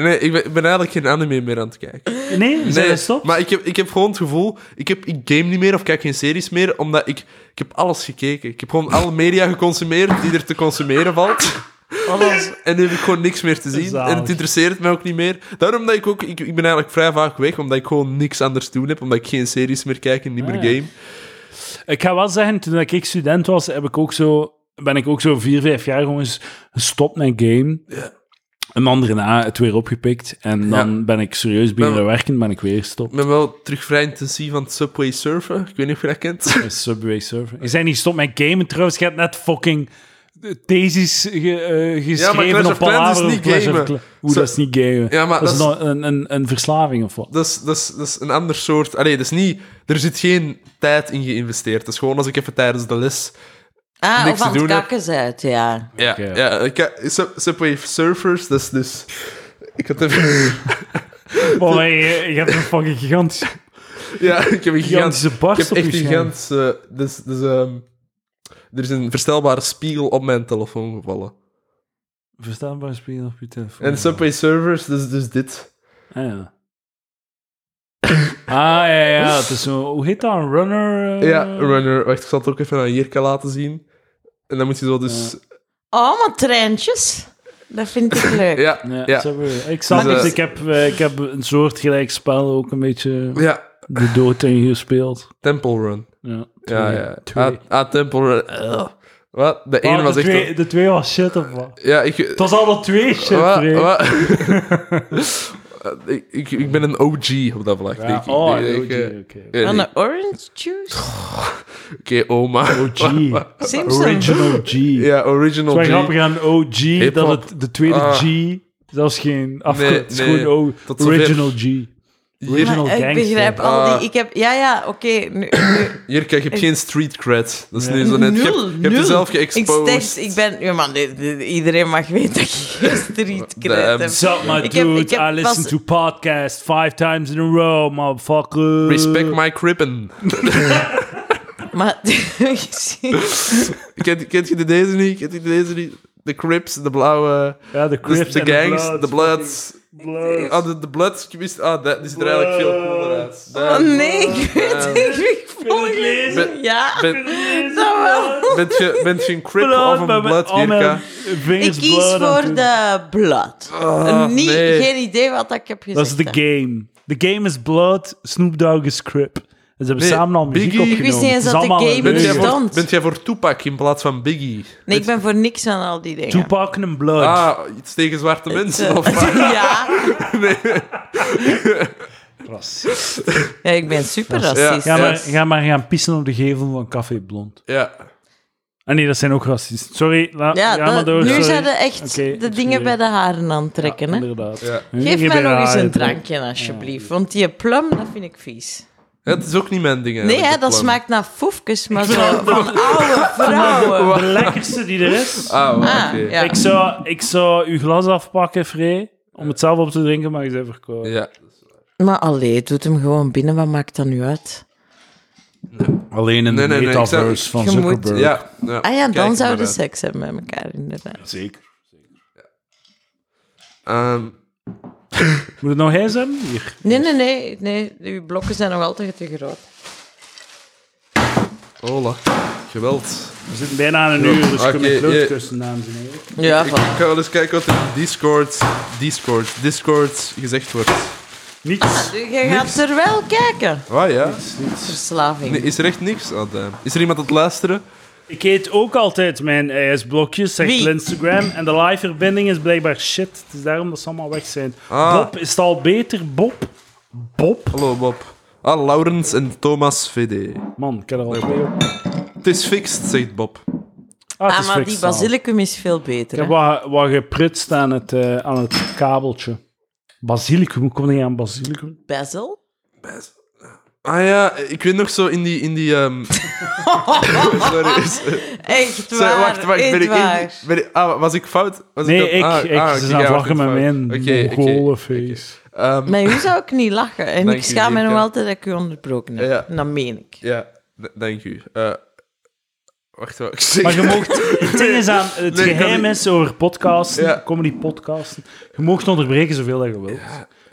nee, ik ben, ik ben eigenlijk geen anime meer aan het kijken.
Nee, zijn
Nee,
we stop?
Maar ik heb, ik heb gewoon het gevoel... Ik, heb, ik game niet meer of kijk geen series meer, omdat ik... Ik heb alles gekeken. Ik heb gewoon alle media geconsumeerd die er te consumeren valt.
Alles.
En nu heb ik gewoon niks meer te zien.
Zalig.
En het interesseert mij ook niet meer. Daarom dat ik ook... Ik, ik ben eigenlijk vrij vaak weg, omdat ik gewoon niks anders te doen heb. Omdat ik geen series meer kijk en niet meer
Ah, ja.
game.
Ik ga wel zeggen, toen ik student was, heb ik ook zo, ben ik ook zo vier, vijf jaar gewoon eens gestopt met game. Een andere na het weer opgepikt. En dan ben ik serieus beginnen werken, ben ik weer gestopt.
Ik ben wel terug vrij intensief aan het Subway surfen. Ik weet niet of je dat kent.
Met Subway Surfer. Ik zei niet stop met gamen trouwens, je hebt net fucking thesis ge, eh, geschreven
Clash
op
of Clans
Palaver
is
of
niet
Clash of
gamen.
Cla- Oeh,
Zo-
dat is niet gamen.
Ja, maar
dat is
dat
dan een, een, een verslaving of wat.
Dat is, dat, is, dat is een ander soort... Allee, dat is niet... Er zit geen tijd in geïnvesteerd. Het is gewoon als ik even tijdens de les...
Ah,
Niks
of
te
aan het
doen, hè?
kakken uit, ja.
Ja,
Oké.
ja ik, ha- Sub- Subway surfers, dat is dus... Ik had even...
Oh, maar je, je hebt een fucking gigantische,
ja, ik heb een gigantische...
gigantische
Ik heb
barst op je
echt een
scherm.
gigant... dus, dus, ehm, er is een verstelbare spiegel op mijn telefoon gevallen.
Verstaanbaar spelen op je telefoon.
En Subway Servers, dus, dus dit.
Ah ja. Ah ja, ja. Het is zo, hoe heet dat? Een runner? eh?
Ja, Runner. Wacht, ik zal het ook even aan Jirka laten zien. En dan moet je zo dus...
Oh, maar treintjes. Dat vind ik leuk.
Ja,
Ja,
ja. ja.
zo weer. Ik snap
Dus,
het.
eh,
ik, heb, eh, ik heb een soort gelijk spel ook een beetje de dood in gespeeld.
Temple Run.
Ja,
Ja,
twee-
ja.
twee.
Ah, ah, Temple Run. Ugh. Wat? De ene
Ah,
was
de,
echt...
twee, de twee was shit of wat?
Ja, ik...
Het was alle twee shit,
Wa-
Freek.
wa- ik, ik, ik ben een OG op dat vlak,
Ja,
denk ik.
oh,
Ik-
OG,
ik, eh,
oké.
ja,
En
nee.
een orange juice.
Oké, oma.
OG.
Simpson.
Original G.
Ja,
Het is wel
original G.
grappig aan OG,
Hip-hop.
dat het de tweede
Ah.
G... Zelfs geen afkort,
Nee,
het is
nee.
gewoon O-
Tot zover.
original G. Original
Maar ik
gangster.
begrijp al
Ah.
die... Ik heb, ja, ja, oké. nu, nu,
Jirka, je hebt geen street cred. Dat is nu zo net... Je hebt-
nul,
je hebt
nul.
jezelf
Ik,
geëxposed.
steeds, ik ben... Ja, man, dit- dit- iedereen mag weten dat ik geen street cred heb.
Sup, my
Ik heb-
dude?
ik heb
I listen
pas-
to podcast five times in a row, motherfucker.
Respect my crippen.
Maar... Oh, je ziet-
Kent, kent je de deze niet? Kent je deze niet? De Crips, de blauwe...
Ja, de
Dus
Crips
de
en de
gangs,
Bloods.
de Bloods.
Bloods.
Ah, de, de Bloods. ik wist- Ah, dat die ziet er eigenlijk veel cooler uit.
Oh,
Daar.
nee, ik weet
Ehm,
niet. Ik volg
het
het.
lezen?
Ja,
Ben,
dat wel.
bent je, bent je een Crip
Blood,
of een
maar met
Blood,
al mijn
Jirka?
Ik
vingers
kies
blood aan
voor
toe.
de blood.
Ah,
Niet,
nee.
Geen idee wat ik heb gezegd.
Dat is de
hè.
game. The game is blood, Snoop Dogg is Crip. En ze hebben
Nee,
samen al muziek
Biggie- Ik wist
opgenomen.
niet eens
Het
dat
is
de
allemaal een
game
Bent jij,
is
leugen.
dan.
voor,
Verstand.
bent jij voor Tupac in plaats van Biggie?
Nee, ik ben voor niks aan al die dingen.
Tupac en Blood.
Ah, iets tegen zwarte
eh,
mensen? Of wat?
ja. ja, ik ben super racist. Ja,
Ga,
Ja,
maar,
yes.
ga maar gaan pissen op de gevel van Café Blond.
ja.
Ah nee, dat zijn ook racisten. Sorry, la, ga maar
dat-
door.
nu
sorry.
zijn ze echt
Oké,
de
sorry.
dingen bij de haren aan het trekken. hè.
Inderdaad.
Ja.
Geef
Geen
mij nog eens
behaarde.
een drankje, alsjeblieft. Want die plum, dat vind ik vies.
Ja, Dat is ook niet mijn ding.
Nee, hè,
eigenlijk, de
dat
plan.
smaakt naar foefkes, maar zo van oude vrouwen.
De lekkerste die er is.
Ah,
Ah,
oké.
ja.
Ik, zou, ik zou uw glas afpakken, Free, om het zelf op te drinken, maar je bent verkouden.
Ja.
Maar allee, doet hem gewoon binnen, wat maakt dat nu uit?
Alleen in
Nee, nee, nee, ik zou-
van
Je moet-
Ja, ja.
Ah ja,
Kijk
dan zouden
maar
ze seks hebben met elkaar, inderdaad.
Zeker.
uit. Ehm,
Moet het nog eens hebben? Hier.
Nee, nee, nee, nee, uw blokken zijn nog altijd te groot.
hola. Geweld.
We zitten bijna aan een uur, dus
Ah, Oké,
ik kom met
je-
klootkussen, dames en heren.
Ja,
Ik
van.
ga wel eens kijken wat er in Discord, Discord, Discord gezegd wordt.
Niets.
Dus Je gaat er wel kijken.
Ah ja?
Verslaving.
Nee, is er echt niks? Ah, damn. Is er iemand aan het luisteren?
Ik eet ook altijd mijn ijsblokjes, zegt
Wie?
Instagram. En de live-verbinding is blijkbaar shit. Het is daarom dat ze allemaal weg zijn.
Ah.
Bob, is het al beter? Bob? Bob?
Hallo Bob. Ah, Laurens en Thomas VD.
Man, ik heb er al twee op.
Het is fixed, zegt Bob.
Ah, het
Ah,
is
maar die
fixaal.
basilicum is veel beter.
Ik heb
hè.
wat, wat geprutst aan het, eh, aan het kabeltje. Basilicum, hoe kom je aan basilicum?
Basil?
Ah ja, ik weet nog zo in die... In die ehm, Sorry.
Echt waar,
Sorry, wacht, wacht. Ben
echt
ik in,
waar.
ben ik- ah, was ik fout? Was
Nee,
dat-
ik,
ah,
ik,
ah,
ze
oké,
zijn aan
jij
het
was
lachen
niet
met
fout.
mijn
Oké, oké.
mongolenfeest.
Ehm,
Maar hoe zou ik niet lachen? En
Dank
ik
u,
schaam me nog
Jirka.
altijd dat ik u onderbroken heb.
Ja.
En Dat meen ik.
Ja, d- dank u. Eh, wacht, wat ik zeg.
Maar je mocht... Het ding is aan... Het
Nee, ik kan
geheim
niet.
is over podcasten,
Ja.
comedy-podcasten. Je mocht onderbreken zoveel dat je wilt.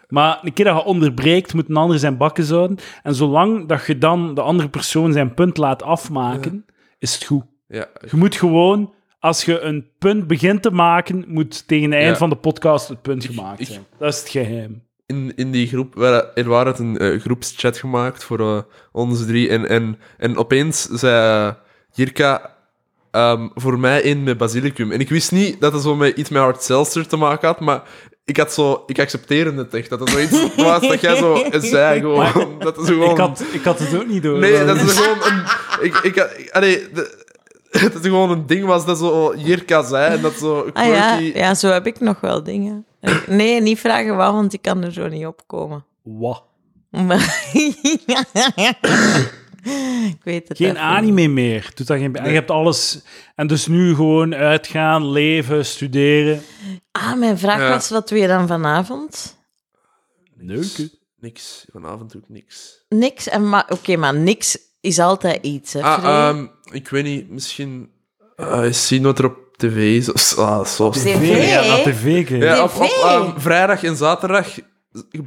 Maar een keer dat je onderbreekt, moet een ander zijn bakken houden. En zolang dat je dan de andere persoon zijn punt laat afmaken, is het goed.
Ja,
Je moet gewoon... Als je een punt begint te maken, moet tegen het eind
Ja.
van de podcast het punt gemaakt
ik-
zijn. Dat is het geheim.
in, in die groep, waar- er waren het een eh, groepschat gemaakt voor eh, ons drie. En, en, en opeens zei eh, Jirka ehm, voor mij in met basilicum. En ik wist niet dat het zo met iets met hard seltzer te maken had, maar ik had zo... Ik accepteerde het echt, dat het zoiets was dat jij zo zei gewoon. Dat is gewoon...
Ik had, ik had het ook niet door.
eh,
Nee, dat is gewoon een... Ik, ik, had- allee, de- dat het gewoon een ding was dat zo oh, Jirka zei en dat zo quirky...
Ah ja, ja, zo heb ik nog wel dingen. Nee, niet vragen waarom, want ik kan er zo niet op komen.
Wat?
Maar- ik weet het
Geen
even
anime meer. Doet dat geen... En je hebt alles. En dus nu gewoon uitgaan, leven, studeren.
niet. Ah, mijn vraag
Ja.
was, wat doe je dan vanavond?
Leuk.
Niks. Vanavond ook niks.
Niks. En maar, Oké, maar niks is altijd iets, hè, Free?
Ah, ehm, ik weet niet, misschien eh, is zien wat er op tv is. Of, zo- ah, zo.
TV?
Ja, naar tv kijken.
Ja, op, op,
TV?
ehm, vrijdag en zaterdag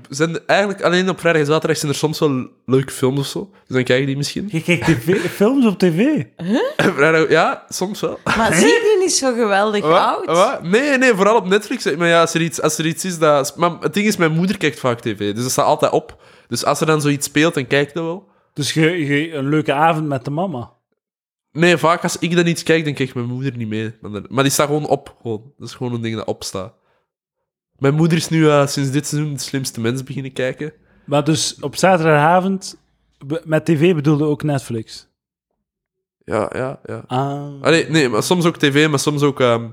zijn er- eigenlijk alleen op vrijdag en zaterdag zijn er soms wel leuke films of zo. Dus dan kijk je die misschien.
Je kijkt tv films op tv.
Vrijdag, ja, soms wel.
Maar zie je die niet zo geweldig
Wat?
oud?
Wat? Nee, nee, vooral op Netflix. hè. Maar ja, als er iets, als er iets is dat... Maar het ding is, mijn moeder kijkt vaak tv, dus dat staat altijd op. Dus als er dan zoiets speelt, dan kijk ik dat wel.
Dus je, je- een leuke avond met de mama.
Nee, vaak als ik dan iets kijk, dan kijkt mijn moeder niet mee. Maar dan- Maar die staat gewoon op. Gewoon. Dat is gewoon een ding dat opstaat. Mijn moeder is nu eh, sinds dit seizoen de slimste mens beginnen kijken.
Maar dus op zaterdagavond be- met tv bedoelde ook Netflix.
Ja, ja, ja.
Ah.
Allee, nee, maar soms ook tv, maar soms ook ehm,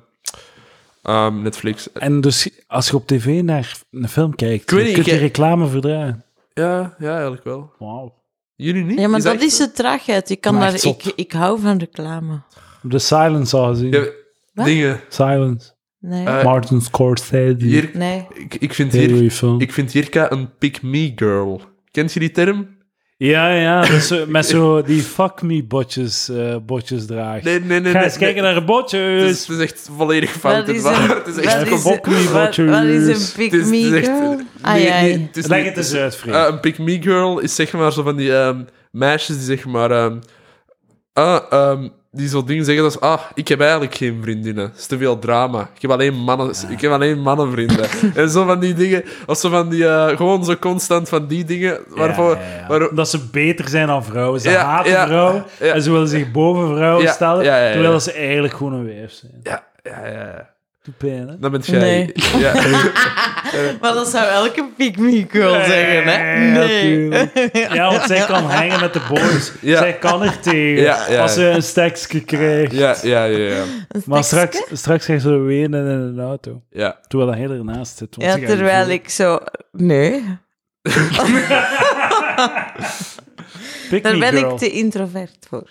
ehm, Netflix.
En dus als je op tv naar een film kijkt,
Ik weet
je
niet,
kunt je
ik-
reclame verdragen.
Ja, ja, eigenlijk wel.
Wauw.
Jullie niet?
Ja, maar dat
echt
is
zo?
de traagheid. Ik, kan
Maar
daar,
echt
ik,
zot.
ik hou van reclame.
De Silence al gezien.
Ja, dingen.
Silence.
Nee.
Eh,
Martin Scorsese.
Jir-
nee.
ik, ik, vind
Heel
Jir-
goeie film.
ik vind Jirka een pick-me-girl. Kent je die term?
Ja, ja, dus, eh, met zo die fuck me botjes, eh, botjes dragen.
Nee, nee, nee. nee,
Ga eens
nee.
kijken naar de botjes.
Het is, het is echt volledig fout.
Wat
en
is
waar.
een-
Het is
wat
echt
is-
een bokkie,
wat-
watjes.
Wat is een
Het is-
pick
het is
me
echt-
girl?
Nee,
Ai, ai.
nee, het is
Leg
niet-
het eens uit, vriend.
Eh, een pick-me girl is zeg maar zo van die ehm, meisjes die zeg maar... ehm, ah, ehm, die zo dingen zeggen als... Ah, ik heb eigenlijk geen vriendinnen. Het is te veel drama. Ik heb alleen, mannen,
Ah.
ik heb alleen mannenvrienden. en zo van die dingen. Of zo van die... eh, gewoon zo constant van die dingen. Waarvoor...
Ja, ja, ja.
waar-
Dat ze beter zijn dan vrouwen. Ze
Ja,
haten
ja,
vrouwen
ja.
en ze willen zich boven vrouwen
Ja,
stellen,
ja, ja, ja.
terwijl ze eigenlijk gewoon een wijf zijn.
ja, ja, ja.
Doe pijn, hè?
Dan ben jij...
Nee.
Ja.
Maar dat zou elke pick me girl zeggen, hè? Nee.
natuurlijk. Ja, want zij kan hangen met de boys.
Ja.
Zij kan er tegen
Ja, ja.
als ze een stekstje krijgt.
ja, ja, ja, ja.
Een
Maar
tekstje?
straks, straks krijgt ze wenen in een auto.
Ja.
Terwijl dat heel ernaast zit. want
Ja,
ze gaat niet
terwijl
voelen.
ik zo... Nee,
Pick
daar
me,
ben
girl.
ik te introvert voor.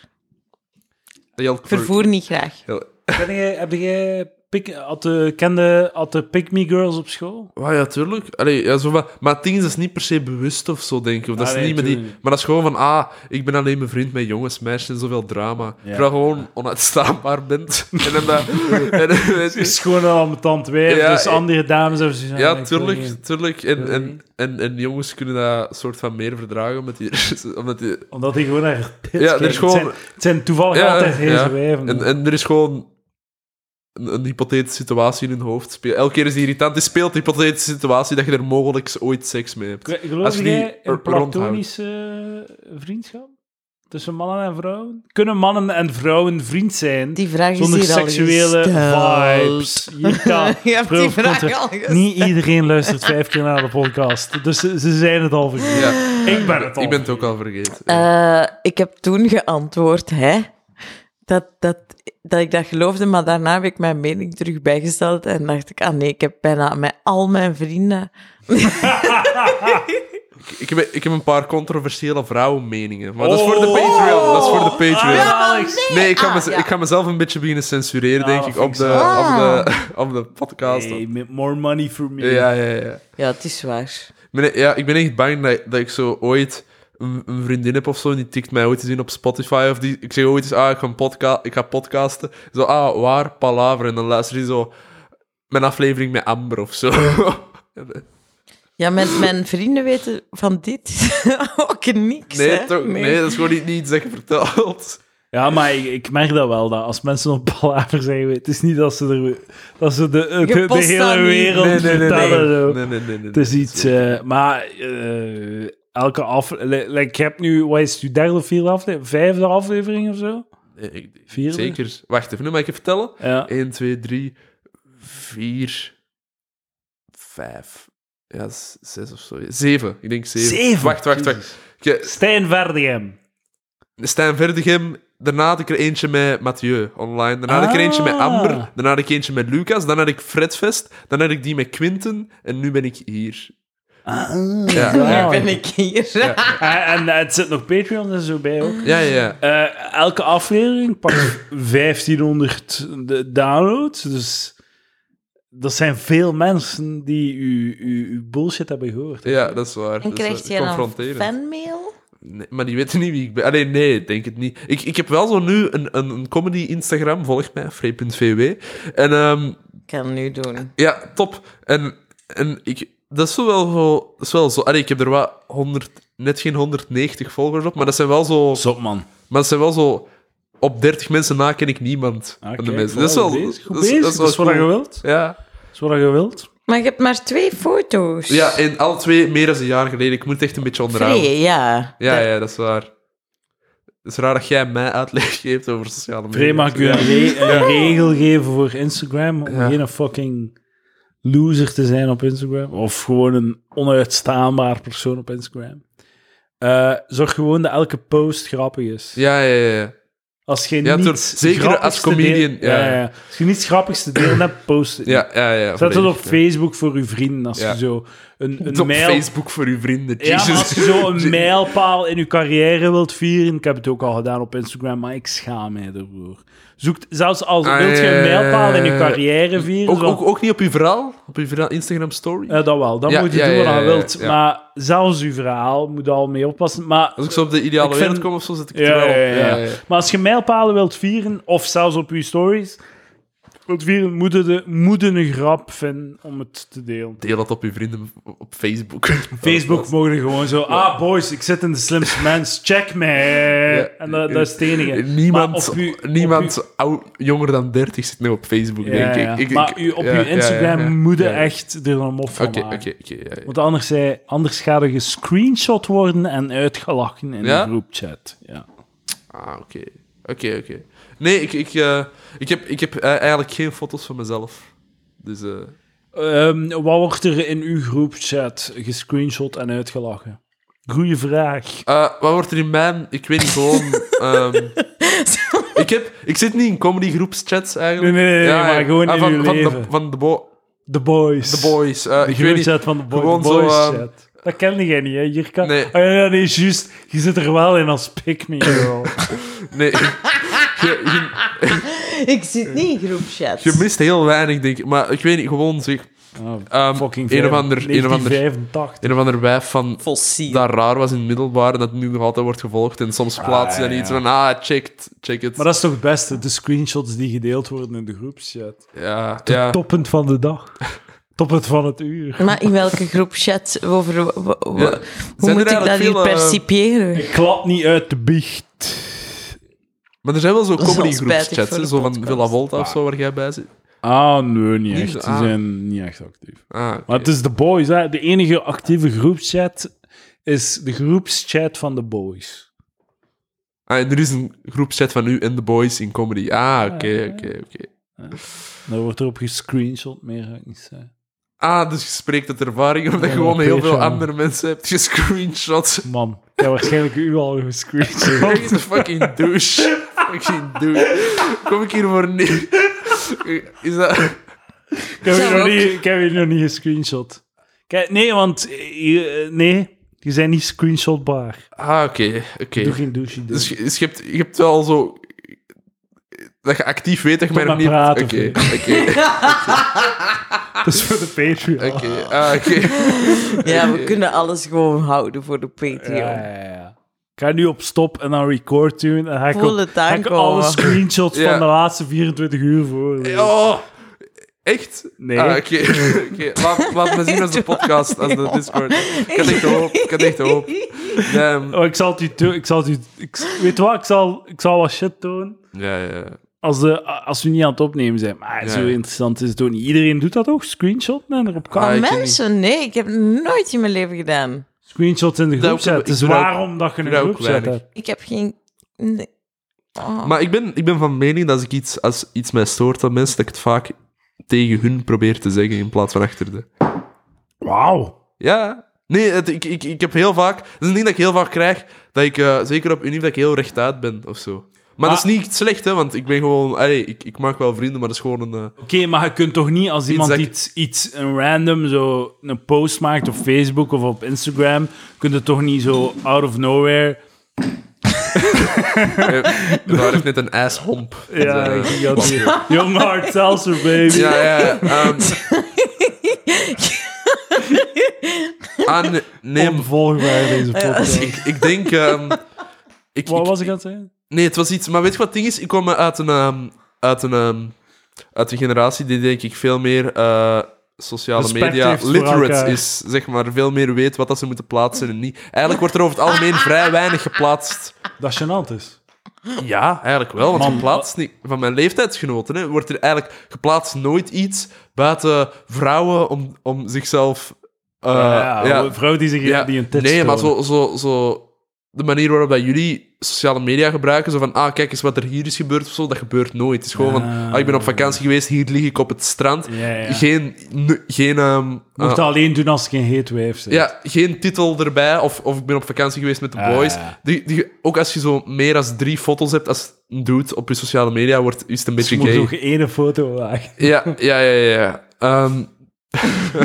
Heel
Ik vervoer niet graag.
heel-
Ken jij, heb jij pik, had de, kende had de Pick Me Girls op school?
Ah, ja, tuurlijk. Allee, ja, zo van, maar het ding is, dat is niet per se bewust of zo, denk ik. Of dat
Ah,
is
nee,
niet met die,
tuurlijk.
maar dat is gewoon van, ah, ik ben alleen mijn vriend met jongens, meisjes en zoveel drama.
Ja.
Terwijl je gewoon onuitstaanbaar bent. en dan dat... en dan- weet
Het is
je.
gewoon een ambetant wijf,
Ja,
dus
ik-
andere dames hebben ze
ja, tuurlijk. tuurlijk. En,
Sorry.
en, en, en jongens kunnen dat soort van meer verdragen, omdat die... omdat die
Omdat die gewoon naar tits
Ja, er is
kijken. Het
gewoon-
zijn- Het zijn, toevallig
ja,
altijd
ja.
deze wijven.
En, en er is gewoon... Een, een hypothetische situatie in hun hoofd. Speel- Elke keer is die irritant. Die speelt de hypothetische situatie dat je er mogelijk ooit seks mee hebt.
Geloof
als je die
jij
er-
een
rondhoudt.
platonische eh, vriendschap? tussen mannen en vrouwen? Kunnen mannen en vrouwen vriend zijn
Die vraag is
zonder
hier al
seksuele
gesteld.
vibes? Ja,
Je hebt die
proof
vraag
contra-
al gesteld.
Niet iedereen luistert vijf keer naar de podcast, dus ze, ze zijn het al vergeten.
Ja,
Ik ben het al.
ik ben het ook al vergeten.
Eh, ik heb toen geantwoord, hè, dat, dat, dat ik dat geloofde, maar daarna heb ik mijn mening terug bijgesteld en dacht ik, ah nee, ik heb bijna met al mijn vrienden...
Ik- Ik, heb, ik heb een paar controversiële vrouwenmeningen. Maar dat is voor de
Oh.
Patreon. Dat is voor de Patreon.
Ah, ja.
Nee, ik ga,
ah,
mez-
ja.
ik ga mezelf een beetje beginnen censureren,
Ja,
denk
dat
ik,
vind
op
ik
de,
zo. Ah.
op, de, op de podcast.
Hey, make more money for me.
Ja, ja, ja.
Ja, het is waar.
Ik ben, ja, ik ben echt bang dat, dat ik zo ooit een, een vriendin heb of zo, en die tikt mij ooit eens in op Spotify. Of die, ik zeg ooit eens, ah, ik ga, een podca ik ga podcasten. Zo, ah, waar? Palaver. En dan luister je zo mijn aflevering met Amber of zo.
Ja, mijn, mijn vrienden weten van dit ook niks,
nee,
hè.
toch, nee. dat is gewoon niet, niet iets dat je vertelt.
Ja, maar ik, ik merk dat wel, dat als mensen op palaver zijn, het is niet dat ze, er, dat ze de, de, de
post dat
hele
niet.
wereld
Nee, nee, nee. nee,
vertellen. zo.
nee, nee, nee, nee,
Het is iets, eh, maar eh, elke aflevering. ik heb nu, wat is het, uw derde of vierde aflevering? Vijfde aflevering of zo?
Nee, ik-
Vierde?
Zeker. Wacht even, nu mag ik je vertellen.
Ja.
1, 2, 3, 4, 5. Ja, 6 of zo. 7. Ik denk 7.
Zeven?
Wacht, wacht, wacht. Ik- eh,
Stijn Verdegem.
Stijn Verdegem. Daarna had ik er eentje met Mathieu online. Daarna had ik er eentje met
Ah.
Amber. Daarna had ik eentje met Lucas. Dan had ik Fredfest. Dan had ik die met Quinten. En nu ben ik hier. Ja,
Nu
ja.
ben ik hier.
En, en het zit nog Patreon en zo bij ook.
Ja, ja, ja.
Eh, elke aflevering pakt 1500 de- downloads. Dus dat zijn veel mensen die uw, uw, uw bullshit hebben gehoord.
Ja, dat is waar.
En
dat is
krijgt
waar.
je dan
Confronterend.
fanmail?
Nee, maar die weten niet wie ik ben. Allee, nee, ik denk het niet. Ik, ik heb wel zo nu een, een, een comedy-instagram, volg mij, free.vw. En ehm,
Ik kan het nu doen.
ja, top. En, en ik, dat is zo wel zo... Dat is wel zo allee, ik heb er wel 100, net geen 190 volgers op, maar dat zijn wel zo...
Stop, man.
Maar dat zijn wel zo... Op 30 mensen na ken ik niemand
Ah,
van de
kijk,
mensen.
voilà,
Dat is wel...
goed bezig, goed
dat is-
bezig.
dat is wel
Dat is wat
cool.
je wilt.
Ja.
Dat is wat je wilt.
Maar je hebt maar twee foto's.
ja, en alle twee meer dan een jaar geleden. Ik moet het echt een beetje onderhouden.
Vrij, ja.
Ja, ja, dat is waar. Het is raar dat jij mij uitleg geeft over sociale media.
Vrij, mag ik u een, re- een regel geven voor Instagram? Om
Ja.
geen fucking loser te zijn op Instagram. Of gewoon een onuitstaanbaar persoon op Instagram. Eh, zorg gewoon dat elke post grappig is.
Ja, ja, ja. ja.
Als je
Ja,
niets
tuurlijk. Zeker
grappigs
als
te deel-
comedian, ja.
ja, ja. Als je niets grappigs te delen hebt, post het. niet.
ja, ja, ja
Zet het op
volledig, ja.
Facebook voor je vrienden. Als
Ja.
je zo een,
Het
een
op
mijl...
Facebook voor uw vrienden.
Ja,
Jesus.
maar als je zo een mijlpaal in je carrière wilt vieren... Ik heb het ook al gedaan op Instagram, maar ik schaam mij ervoor. Zoekt, zelfs als
Ah,
wilt je
ja, ja,
een
ja,
mijlpaal in je
ja.
carrière vieren...
ook,
zo-
ook, ook niet op uw verhaal? Op uw verhaal Instagram story?
Ja, dat wel. Dat
Ja,
moet je
ja,
doen wat
ja,
je
ja,
wilt.
ja.
Maar zelfs je verhaal moet daar al mee oppassen. Maar
Als ik zo op de ideale
Ik vind-
wereld kom of zo, zet ik het er
Ja,
wel op.
ja, ja, ja. Maar als je mijlpalen wilt vieren, of zelfs op je stories wilt vieren, moet je, de, moet je een grap vinden om het te delen.
Deel dat op uw vrienden op Facebook.
Facebook mogen gewoon zo, ah boys, ik zit in de slimste mens, check mij.
Ja.
En dat, dat is het enige.
Niemand,
Maar op uw- op
niemand
uw-
oud- jonger dan 30 zit nu op Facebook,
Ja,
denk ik.
ja.
ik. ik-
maar u, op
ja,
je
ja, ja,
Instagram
ja.
moet je
Ja, ja.
echt er een mop van
Oké,
maken.
oké, oké. ja, ja.
Want anders, zij- anders ga je gescreenshot worden en uitgelachen in
Ja?
de groepchat. Ja.
Ah, oké. Oké, oké. Nee, ik, ik, eh, ik heb, ik heb eh, eigenlijk geen foto's van mezelf. Dus... eh,
Ehm, wat wordt er in uw groepchat gescreenshot en uitgelachen? Goeie vraag.
Eh, wat wordt er in mijn... Ik weet niet, gewoon... ehm, ik, heb, ik zit niet in comedygroepschats eigenlijk. Ah,
Nee, nee, nee, maar gewoon in
van,
uw
van
leven.
De, van de, bo-
The Boys.
de boys. eh,
De
ik weet niet...
groepchat van de, boy,
gewoon
de Boys
zo, ehm,
chat. Dat kende jij niet, hè? Hier kan...
Nee.
Oh, ja, ja, nee, juist. Je zit er wel in als pick me girl.
Nee, je, je-
Ik zit niet in groepchats.
je mist heel weinig, denk ik. Maar ik weet niet, gewoon zeg...
Ah,
ehm,
fucking
een of
vijf-
ander... Een of ander,
1985.
een of ander wijf van...
Fossiel.
Dat raar was in het middelbaar en dat nu nog altijd wordt gevolgd. En soms plaatst je
ja,
dan
ja.
iets van, ah, check it, check it.
Maar dat is toch het beste, de screenshots die gedeeld worden in de groepchat.
ja, ja.
Toppend van de dag. Toppend van het uur.
Maar in welke groepchat? Over, wa- wa- wa-
Ja.
Hoe
Zijn
moet
er
ik dat
eigenlijk
hier
veel, eh,
percipiëren?
Ik klap niet uit de biecht.
Maar er zijn wel zo
is wel spijtig
comedygroepschats,
voor
hè,
de
zo van
podcast.
Villa Volta of zo, waar jij bij zit.
Ah, nee, niet
Niet
echt.
zo-
Ze
ah.
zijn niet echt actief.
Ah, oké.
Maar het is de boys, hè. De enige actieve groepschat is de groepschat van de boys.
Ah, en er is een groepchat van u en The Boys in comedy. Ah, oké, oké, oké.
Daar wordt erop gescreenshot, meer ga ik niet zeggen.
Ah, dus je spreekt uit ervaring, omdat je
Ja,
gewoon heel veel
oké, zo.
andere mensen hebt gescreenshot.
Man, ik heb waarschijnlijk u al gescreenshot.
Fucking fucking douche. fucking douche. Kom ik hier voor neer? Is dat...
ik, heb u
Zou
nog
ook-
niet, ik heb u nog niet gescreenshot. Kijk, nee, want... eh, eh, Nee, die zijn niet screenshotbaar.
Ah, oké, oké.
Doe geen douche.
Dus, je- dus je, hebt, je hebt wel zo... Dat je actief weet dat je mij nog
maar
niet...
praten,
Oké, oké,
Dat is voor de Patreon.
oké. Ah, oké.
Ja, we kunnen alles gewoon houden voor de Patreon.
Ja, ja, ja. Ik ga nu op stop en dan record doen. En dan ga ik,
Voel
ook-
het
ga ik
aankomen.
alle screenshots
Ja.
van de laatste 24 uur voor.
Oh, echt?
Nee.
Ah, oké. Oké, Laat, laat me zien als de podcast, als de Discord. Ik had echt hoop. Ik had echt hoop. Damn.
Oh, ik zal het u doen. Ik zal het u... Ik, weet je wat? Ik zal, ik zal wat shit doen.
Ja, ja.
Als, de, als we niet aan het opnemen zijn. Maar zo
Ja.
interessant is het ook niet. Iedereen doet dat ook. Screenshots en erop
Ah,
kan.
ik weet
Mensen, nee, ik heb nooit in mijn leven gedaan.
Screenshots in de
Dat
groep
ook- ik
zetten. Dus
doe dat ook-
waarom dat je
doe
een
dat ook
groep zet
weinig.
hebt.
Ik heb geen. nee. Oh.
Maar ik ben, ik ben van mening dat als ik iets, als iets mij stoort aan mensen, dat ik het vaak tegen hun probeer te zeggen in plaats van achter de.
Wauw.
Ja. Nee, het, ik, ik, ik heb heel vaak... Het is een ding dat ik heel vaak krijg, dat ik, eh, zeker op unief, dat ik heel rechtuit ben of zo. Maar dat is niet slecht, hè, want ik ben gewoon... allee, ik, ik maak wel vrienden, maar dat is gewoon een... eh,
Oké, maar je kunt toch niet als iemand
dat ik-
iets, iets een random zo een post maakt op Facebook of op Instagram, kun je toch niet zo out of nowhere.
Eh, Daar heeft net een asshomp.
Ja,
Dus, eh,
gigantisch. Young Heart Seltzer, baby.
ja, ja. ehm. ah, nee, nee,
Ontvolg mij deze podcast.
ik, ik denk... ehm, ik,
Wat
ik-
was ik aan het zeggen?
nee, het was iets... Maar weet je wat het ding is? Ik kwam uit een... ehm, uit een, ehm, uit een generatie die denk ik veel meer... eh, sociale
Respect
media
heeft voor
literate
elkaar.
is, zeg maar, veel meer weet wat dat ze moeten plaatsen en niet. Eigenlijk wordt er over het algemeen vrij weinig geplaatst.
Dat gênant is.
Ja, eigenlijk wel. Want
Man,
geplaatst niet, van mijn leeftijdsgenoten hè, wordt er eigenlijk geplaatst nooit iets buiten vrouwen om, om zichzelf. eh,
ja,
ja,
een vrouw die, zich,
ja.
die een test
Nee, maar zo, zo, zo. De manier waarop dat jullie sociale media gebruiken, zo van, ah, kijk eens wat er hier is gebeurd of zo, dat gebeurt nooit. Het is gewoon van,
Ah.
ah, ik ben op vakantie geweest, hier lig ik op het strand.
Ja, ja.
Geen. n- geen ehm,
Je moet
eh,
het alleen doen als je geen heet wijf bent.
ja, geen titel erbij. Of, of ik ben op vakantie geweest met de
Ah,
boys.
ja.
Die, die, ook als je zo meer dan drie foto's hebt als een dude op je sociale media, wordt, is het een
Dus je
beetje
moet
gay.
nog één foto maken.
Ja, ja, ja, ja. ja. Ehm,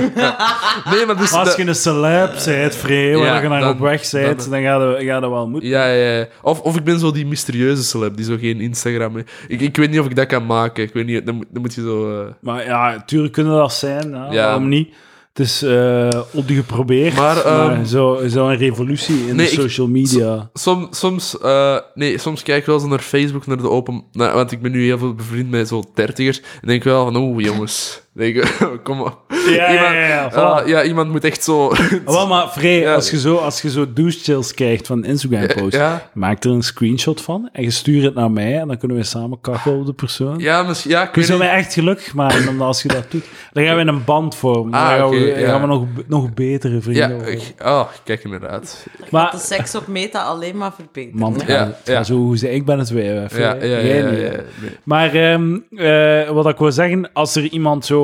nee, maar dus...
Als
dat-
je een celeb bent, vrij, waar
Ja,
je naar
dan-
op weg bent,
dan-
dan, ga, je, ga je wel moeten.
Ja, ja, ja. Of, of ik ben zo die mysterieuze celeb, die zo geen Instagram heeft. Ik, ik weet niet of ik dat kan maken. Ik weet niet, dan, moet- dan moet je zo... eh,
Maar ja, tuurlijk kunnen dat zijn. Ja,
Ja.
Waarom niet? Het is eh op de geprobeerd.
Maar,
Maar,
ehm,
zo, zo een revolutie in
Nee,
de
ik-
social media.
Som, soms, eh, nee, soms kijk ik wel eens naar Facebook, naar de open... naar- want ik ben nu heel veel bevriend met zo'n dertigers. En denk ik wel van, oeh, jongens. Denk, ik, kom op.
Ja, ja,
Iemand-
ja. ja, voilà.
Ah, ja, iemand moet echt zo...
Ah, Wel, maar Vrij,
Ja.
als je zo, als je zo douche chills krijgt van Instagram-post,
ja.
maak er een screenshot van en je stuurt het naar mij en dan kunnen we samen kakken op de persoon.
Ja, misschien... Ja, ik
Je
weet
zou
niet.
mij echt gelukkig maken omdat als je dat doet. Dan gaan we een band vormen. Dan
Ah,
gaan we,
oké,
dan
ja.
gaan we nog, nog betere
Ja,
vrienden worden.
ik, oh, ik kijk inderdaad.
Gaat de
Maar,
seks op meta alleen maar verbeteren.
man,
hè?
Ja,
ja,
ja.
zo hoe ze, ik ben het weer. Vrij.
Ja, ja, ja.
Jij
ja,
niet,
ja,
hè.
nee.
Maar ehm, eh, wat ik wil zeggen, als er iemand zo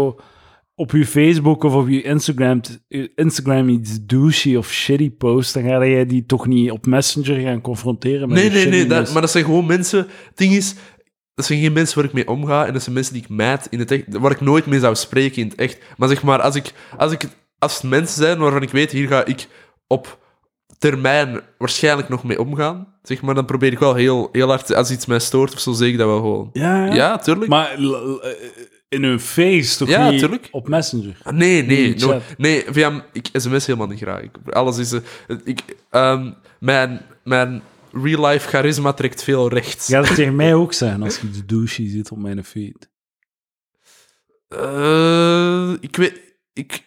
op je Facebook of op je Instagram, je Instagram iets douchey of shitty post, dan ga jij die toch niet op Messenger gaan confronteren met
Nee,
je
nee, nee.
shittiness.
Dat, maar dat zijn gewoon mensen... Het ding is, dat zijn geen mensen waar ik mee omga. En dat zijn mensen die ik maat in het echt... Waar ik nooit mee zou spreken in het echt. Maar zeg maar, als ik... Als, ik, als het mensen zijn waarvan ik weet, hier ga ik op termijn waarschijnlijk nog mee omgaan. Zeg maar, dan probeer ik wel heel, heel hard... Als iets mij stoort of zo, zeg ik dat wel gewoon.
Ja, ja.
Ja, tuurlijk.
Maar l- l- eh, in hun face toch
Ja,
niet
tuurlijk.
op Messenger?
Ah, Nee, nee.
Nee,
no-
chat.
nee, via, ik sms helemaal niet graag. Ik- Alles is... eh, ik, ehm, mijn mijn real-life charisma trekt veel rechts.
Gaat het tegen mij ook zijn als je de douche zit op mijn feed?
Eh, ik, weet, ik,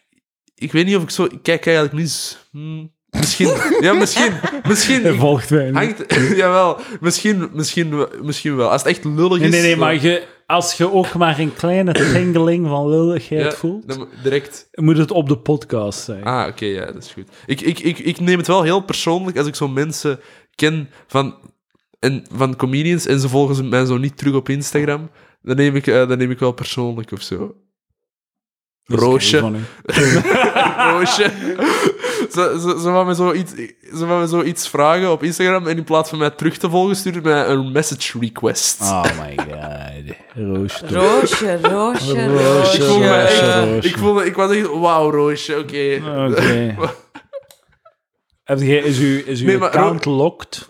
ik weet niet of ik zo... Ik kijk eigenlijk niet... z- hmm, misschien. ja, misschien. Misschien.
En
Ik,
volgt mij niet.
hangt, jawel. Misschien, misschien, we- misschien wel. Als het echt
Nee,
lullig is... eh,
nee, nee,
dan-
maar je, als je ook maar een kleine tingeling van lulligheid
ja,
voelt,
dan direct...
moet het op de podcast zijn.
Ah, oké, ja, dat is goed. Ik, ik, ik, ik neem het wel heel persoonlijk als ik zo mensen ken van... en, van comedians en ze volgen ze mij zo niet terug op Instagram, dan neem ik, eh, dan neem ik wel persoonlijk of zo.
Dat is
Roosje.
kei van u.
Roosje. ze, ze, ze wou me zo iets, ze wou me zo iets vragen op Instagram en in plaats van mij terug te volgen, stuurde mij een message request.
Oh my god. Roosje. toch.
Roosje, roosje,
Roosje,
Ik voelde, me
Roosje,
echt-
Roosje.
Ik, voelde, ik was echt, wauw, Roosje, oké.
Oké. Heb jij- Is uw, is uw
Nee, maar Ro-
account locked?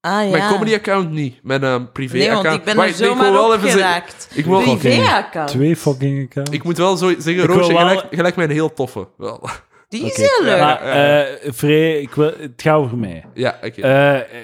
Ah, ja.
Mijn comedy-account niet, mijn ehm,
Nee,
privé-account.
want ik ben
Maar
er
denk, ik
zomaar
wil wel even zeggen-
opgeraakt.
ik wil-
Fucking
Privé-account.
Twee fucking accounts.
Ik moet wel zo zeggen,
wil
Roosje,
wel-
gelijk, gelijk mijn heel toffe. Wel.
Die is
Oké.
heel leuk.
Maar, eh, Vree, ik wil, het gaat over mij.
Ja, oké.
Eh,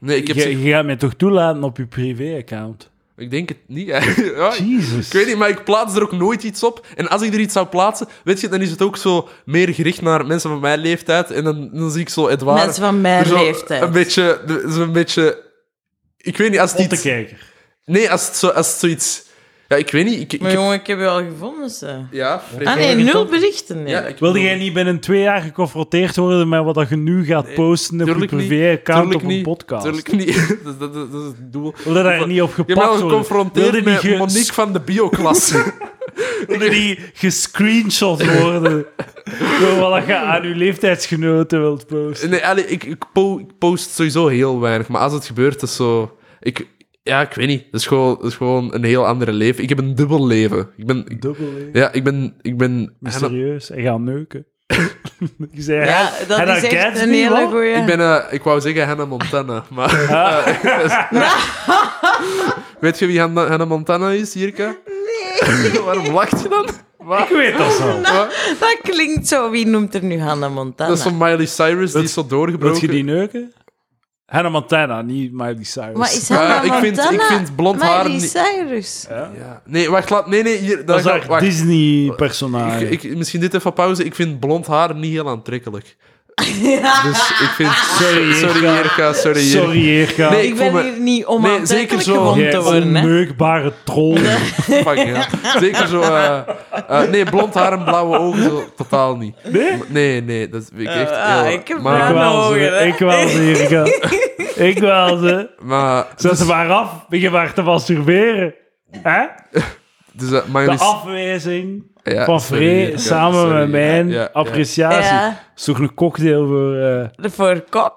nee, ik,
je,
heb zich-
je gaat mij toch toelaten op je privé-account?
ik denk het niet. eigenlijk. Ja, ik-
Jezus.
ik weet niet, maar ik plaats er ook nooit iets op. En als ik er iets zou plaatsen, weet je, dan is het ook zo meer gericht naar mensen van mijn leeftijd. En dan, dan zie ik zo Edouard...
Mensen van mijn
er zo
leeftijd.
Een beetje... de- Zo'n beetje... Ik weet niet, als het
Om te
iets...
kijken.
Nee, als het, zo, als het zoiets... Ja, ik weet niet. Ik, ik
Maar
heb-
jongen, ik heb je al gevonden, ze.
Ja, Fred.
Ah nee, nul berichten. Nee.
Ja, ik-
Wilde jij niet binnen twee jaar geconfronteerd worden met wat dat je nu gaat posten op je
Eh, tuurlijk niet,
privé-account
tuurlijk
op een
niet,
podcast?
Tuurlijk niet. dat, dat, dat, dat is het doel.
Wilde daar niet op
Je hebt
gepakt
me
worden? Wilde
geconfronteerd
die
met
ge-
Monique van de bioklasse.
Wilde die gescreenshot worden door wat je aan je leeftijdsgenoten wilt posten?
nee, allee, ik, ik, po- ik post sowieso heel weinig. Maar als het gebeurt, is zo... Ik, ja, ik weet niet. Het is gewoon, dat is gewoon een heel andere leven. Ik heb een dubbel leven. Ik ben... ik-
Dubbel, hè?
ja, ik ben... Ik ben en-
Mysterieus. En gaan neuken. ik zei,
Ja,
hij-
dat
hij
is echt
herkent
een
niet,
hele
man.
goeie.
ik ben... eh, ik wou zeggen Hannah Montana, maar...
Ah.
eh, weet je wie Hannah, Hannah Montana is, Jirka? Nee. Waarom lacht je dan? Wat?
Ik weet dat zo.
Wat?
Dat klinkt zo. Wie noemt er nu Hannah Montana?
Dat is van Miley Cyrus, die is zo
Wilt je
doorgebroken.
die neuken? Hannah Montana, niet Miley Cyrus.
Maar is
Ja,
Hannah
ik vind- ik
Montana
vind blond
Miley
haar niet-
Cyrus?
Ja. Nee, wacht, laat. Nee, nee, hier.
dat is
daar
haar
ga- wacht.
Disney-personage.
Ik, ik- misschien dit even pauze. Ik vind blond haar niet heel aantrekkelijk. Dus ik vind...
Sorry,
Sorry,
Jirka.
Jirka. Sorry, Jirka.
Sorry, Jirka.
Nee,
Ik,
Ik
ben
vond me-
hier niet om
Nee,
aantrekkelijk
zeker zo.
gevonden
Jij
te worden. hè.
onneugbare troll.
Fuck, ja. Zeker zo... eh, eh, nee, blond haar en blauwe ogen, zo, totaal niet.
Nee?
Nee, nee, dat vind ik echt
Eh, ah,
heel...
ik heb
Ik
bruin.
maar,
wel
ogen,
ze.
hè?
Ik wel ze, Jirka. Ik wel ze.
maar,
Zet ze maar af. Begin maar te masturberen. Hè?
dus, eh,
De
Miley-
afwijzing
Ja,
van
sorry,
Vree
Jirka,
samen
sorry.
met mijn
Ja, ja, ja.
appreciatie.
Ja.
is toch een cocktail voor, eh,
De Voor kok.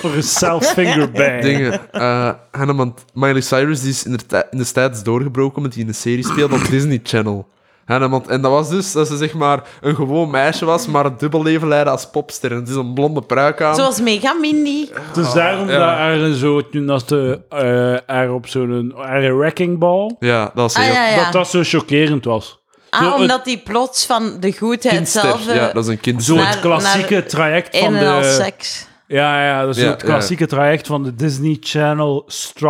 voor een self-fingerbang.
dingen. eh Hannah Mont- Miley Cyrus die is in de, in doorgebroken omdat hij in een serie speelde op Disney Channel. Hannah Mont- en dat was dus dat ze zeg maar een gewoon meisje was, maar een dubbel leven leidde als popster. En het is een blonde pruik aan.
Zoals Mega Mindy.
Dus daarom
Ah, ja.
dat haar zo, toen dat ze eh, haar op zo'n haar wrecking ball,
Ja, dat was
Ah
heel...
ja, ja.
dat dat zo chockerend was.
Ah,
Zo,
omdat die plots van de goedheid
Kindster.
zelf... eh,
Ja, dat is een kind.
Zo
Naar-
het klassieke
naar
traject van
Een en al
de...
seks.
Ja, ja, dat is
Ja,
zo het klassieke traject van de Disney Channel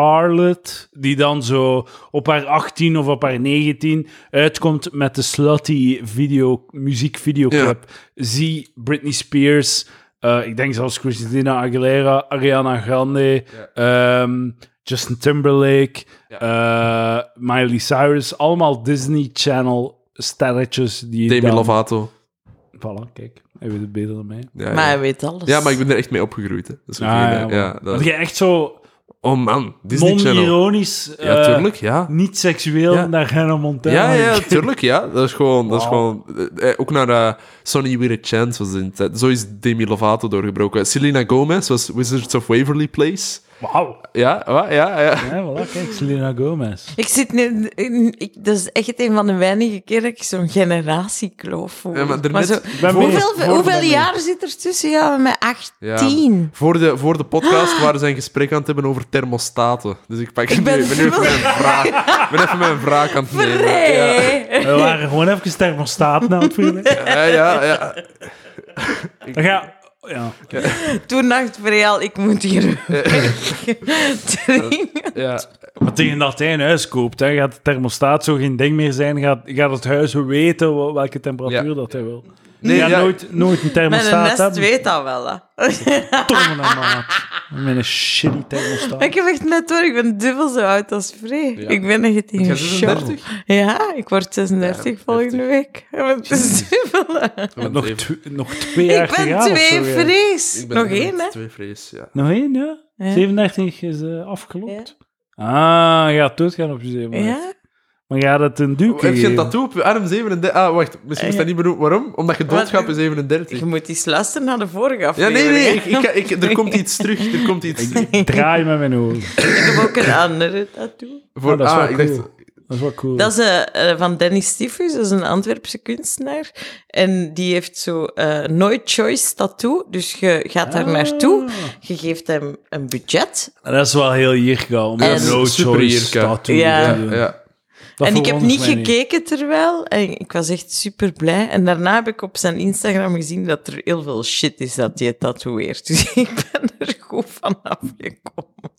starlet, die dan zo op haar 18 of op haar 19 uitkomt met de slutty video, muziekvideoclip. Zie Britney Spears, eh, ik denk zelfs Christina Aguilera, Ariana Grande, ehm, Justin Timberlake, eh, Miley Cyrus, allemaal Disney Channel sterretjes die
Demi
dan-
Lovato.
Voilà, kijk, hij weet het beter dan mij.
Ja,
Maar hij
ja.
weet alles.
Ja, maar ik ben er echt mee opgegroeid. Hè. Dat is ook
Ah,
heel-
ja,
ja,
man.
dat-
Want jij echt zo
Oh man, Disney Channel.
non-ironisch,
Ja,
eh,
tuurlijk, ja.
niet seksueel
Ja.
naar Hannah Montana.
Ja, ja,
kijkt.
tuurlijk, ja. Dat is gewoon... Dat is
Wauw.
gewoon eh, eh, ook naar eh, Sonny With A Chance was in tijd. Zo is Demi Lovato doorgebroken. Selena Gomez was Wizards of Waverly Place.
Wauw.
Ja, wa- ja, ja.
Ja, voilà, kijk, Selena Gomez.
Ik zit nu... in- ik- dat is echt een van de weinige keer dat ik zo'n generatiekloof voel.
Ja, maar er net-
zo,
Ik
ben mee.
hoeveel
Voor de
hoeveel
ben
jaar zit er tussen jou en mij? 18.
Ja. Voor, de, voor de podcast waren ze een gesprek aan het hebben over thermostaten. Dus ik pak
Ik ben-
nu, ik ben nu even mijn vraag, ik ben even mijn vraag aan het nemen. Ja,
Vrij.
We waren gewoon even thermostaat na het vrienden.
ja, ja. ja.
Dan ga- ja.
Toen dacht Vreal, ik moet hier
Eh.
drinken.
ja.
Maar tegen dat hij een huis koopt, hè, gaat de thermostaat zo geen ding meer zijn. Gaat, gaat het huis weten wel- welke temperatuur
Ja.
dat hij wil.
Nee,
Nee, gaat
ja.
nooit, nooit een
Mijn nest
thermostaat hebben.
weet dat wel. Hè.
Tonnen aan maat. Met een shitty thermostaat.
Maar ik heb echt net hoor, ik ben dubbel zo oud als Vree.
Ja.
Ik ben echt in
Jij
een
bent
show.
36?
Ja, ik word 36
Ja,
volgende week. Het is dubbel.
nog, tw- nog twee jaar
Ik ben
gegaan of
twee
zo, ja.
vrees.
Ik ben
Nog
echt
één, hè?
Twee vrees, ja.
Nog één, ja?
Ja.
37 is eh, afgelopen. Ah, je gaat doodgaan op je 37.
Ja?
Maar je gaat het een eh,
Heb
duke
je een
geven.
tattoo op je arm 37? Ah, wacht. Misschien is dat niet benoemd. Waarom? Omdat je doodgaat bij 37.
Eh. Je moet eens luisteren naar de vorige
Ja,
aflevering.
nee, nee. Ik,
Ik,
ik, ik- er komt iets terug. Er komt iets terug.
Ik draai met mijn ogen.
heb ook een andere tattoo.
Voor,
Oh, dat is
ah,
wel
ik
cool.
dacht...
Dat is wel cool.
Dat is eh, eh, van Dennis Stiefus, dat is een Antwerpse kunstenaar. En die heeft zo eh nooit choice tattoo. Dus je gaat daar
Ah.
naartoe, je geeft hem een budget.
Dat is wel heel Jirka, om
En-
een
Super
no-choice
Jirka.
tattoo
Ja.
te
Ja,
doen.
ja.
Dat
en ik heb
verwondert
niet
mij
gekeken terwijl. En ik was echt super blij. En daarna heb ik op zijn Instagram gezien dat er heel veel shit is dat hij tatoeëert. Dus ik ben er goed van afgekomen.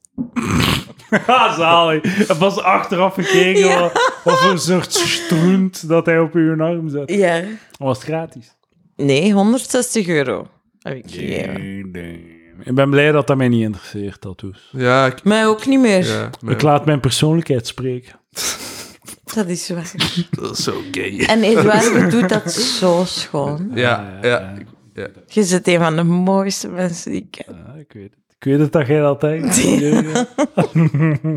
Ha, Ah, zalig. En pas achteraf gekeken
Ja.
wat, wat voor soort stroent dat hij op uw arm zet.
Ja.
Was het gratis?
Nee, 160 euro heb ik gegeven.
Damn. Ik ben blij dat dat mij niet interesseert, tattoos.
Ja, ik...
Mij ook niet meer.
Ja, maar-
Ik laat mijn persoonlijkheid spreken.
Dat is waar.
Dat is zo gay.
En Eduardo doet dat zo schoon.
Ah,
Ja, ja. ja.
Je bent een van de mooiste mensen die ik ken.
Ja, ik weet het. Ik weet het dat jij dat denkt. Jurgen.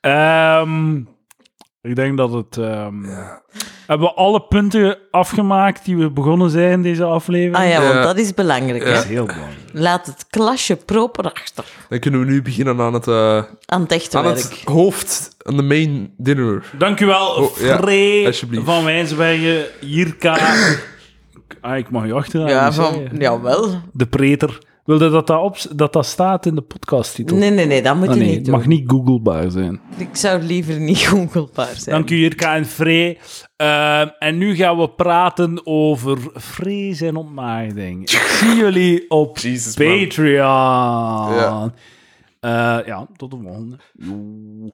Ehm, ik denk dat het... ehm, Hebben we alle punten afgemaakt die we begonnen zijn in deze aflevering?
Ah ja,
Ja.
want dat is belangrijk.
Ja.
Dat
Hè?
is heel belangrijk.
Laat het klasje proper achter.
Dan kunnen we nu beginnen aan het, eh,
Aan het echte
aan
werk.
het hoofd, aan de main dinner.
Dankjewel,
Oh, ja,
Free
alsjeblieft.
van Wijnsbergen, Jirka. ah, ik mag je achteraan
Ja,
niet
van,
zeggen.
jawel.
De preter. Wilde dat dat, op, dat dat staat in de podcasttitel?
Nee, nee, nee, dat moet
Ah,
je
nee,
niet
het
doen.
mag niet googlebaar zijn.
Ik zou liever niet googlebaar zijn.
Dank u, Jirka en Free. eh, en nu gaan we praten over Free zijn ontmaagding. Ik zie jullie op
Jesus, man.
Patreon.
Ja.
Eh, ja, tot de volgende.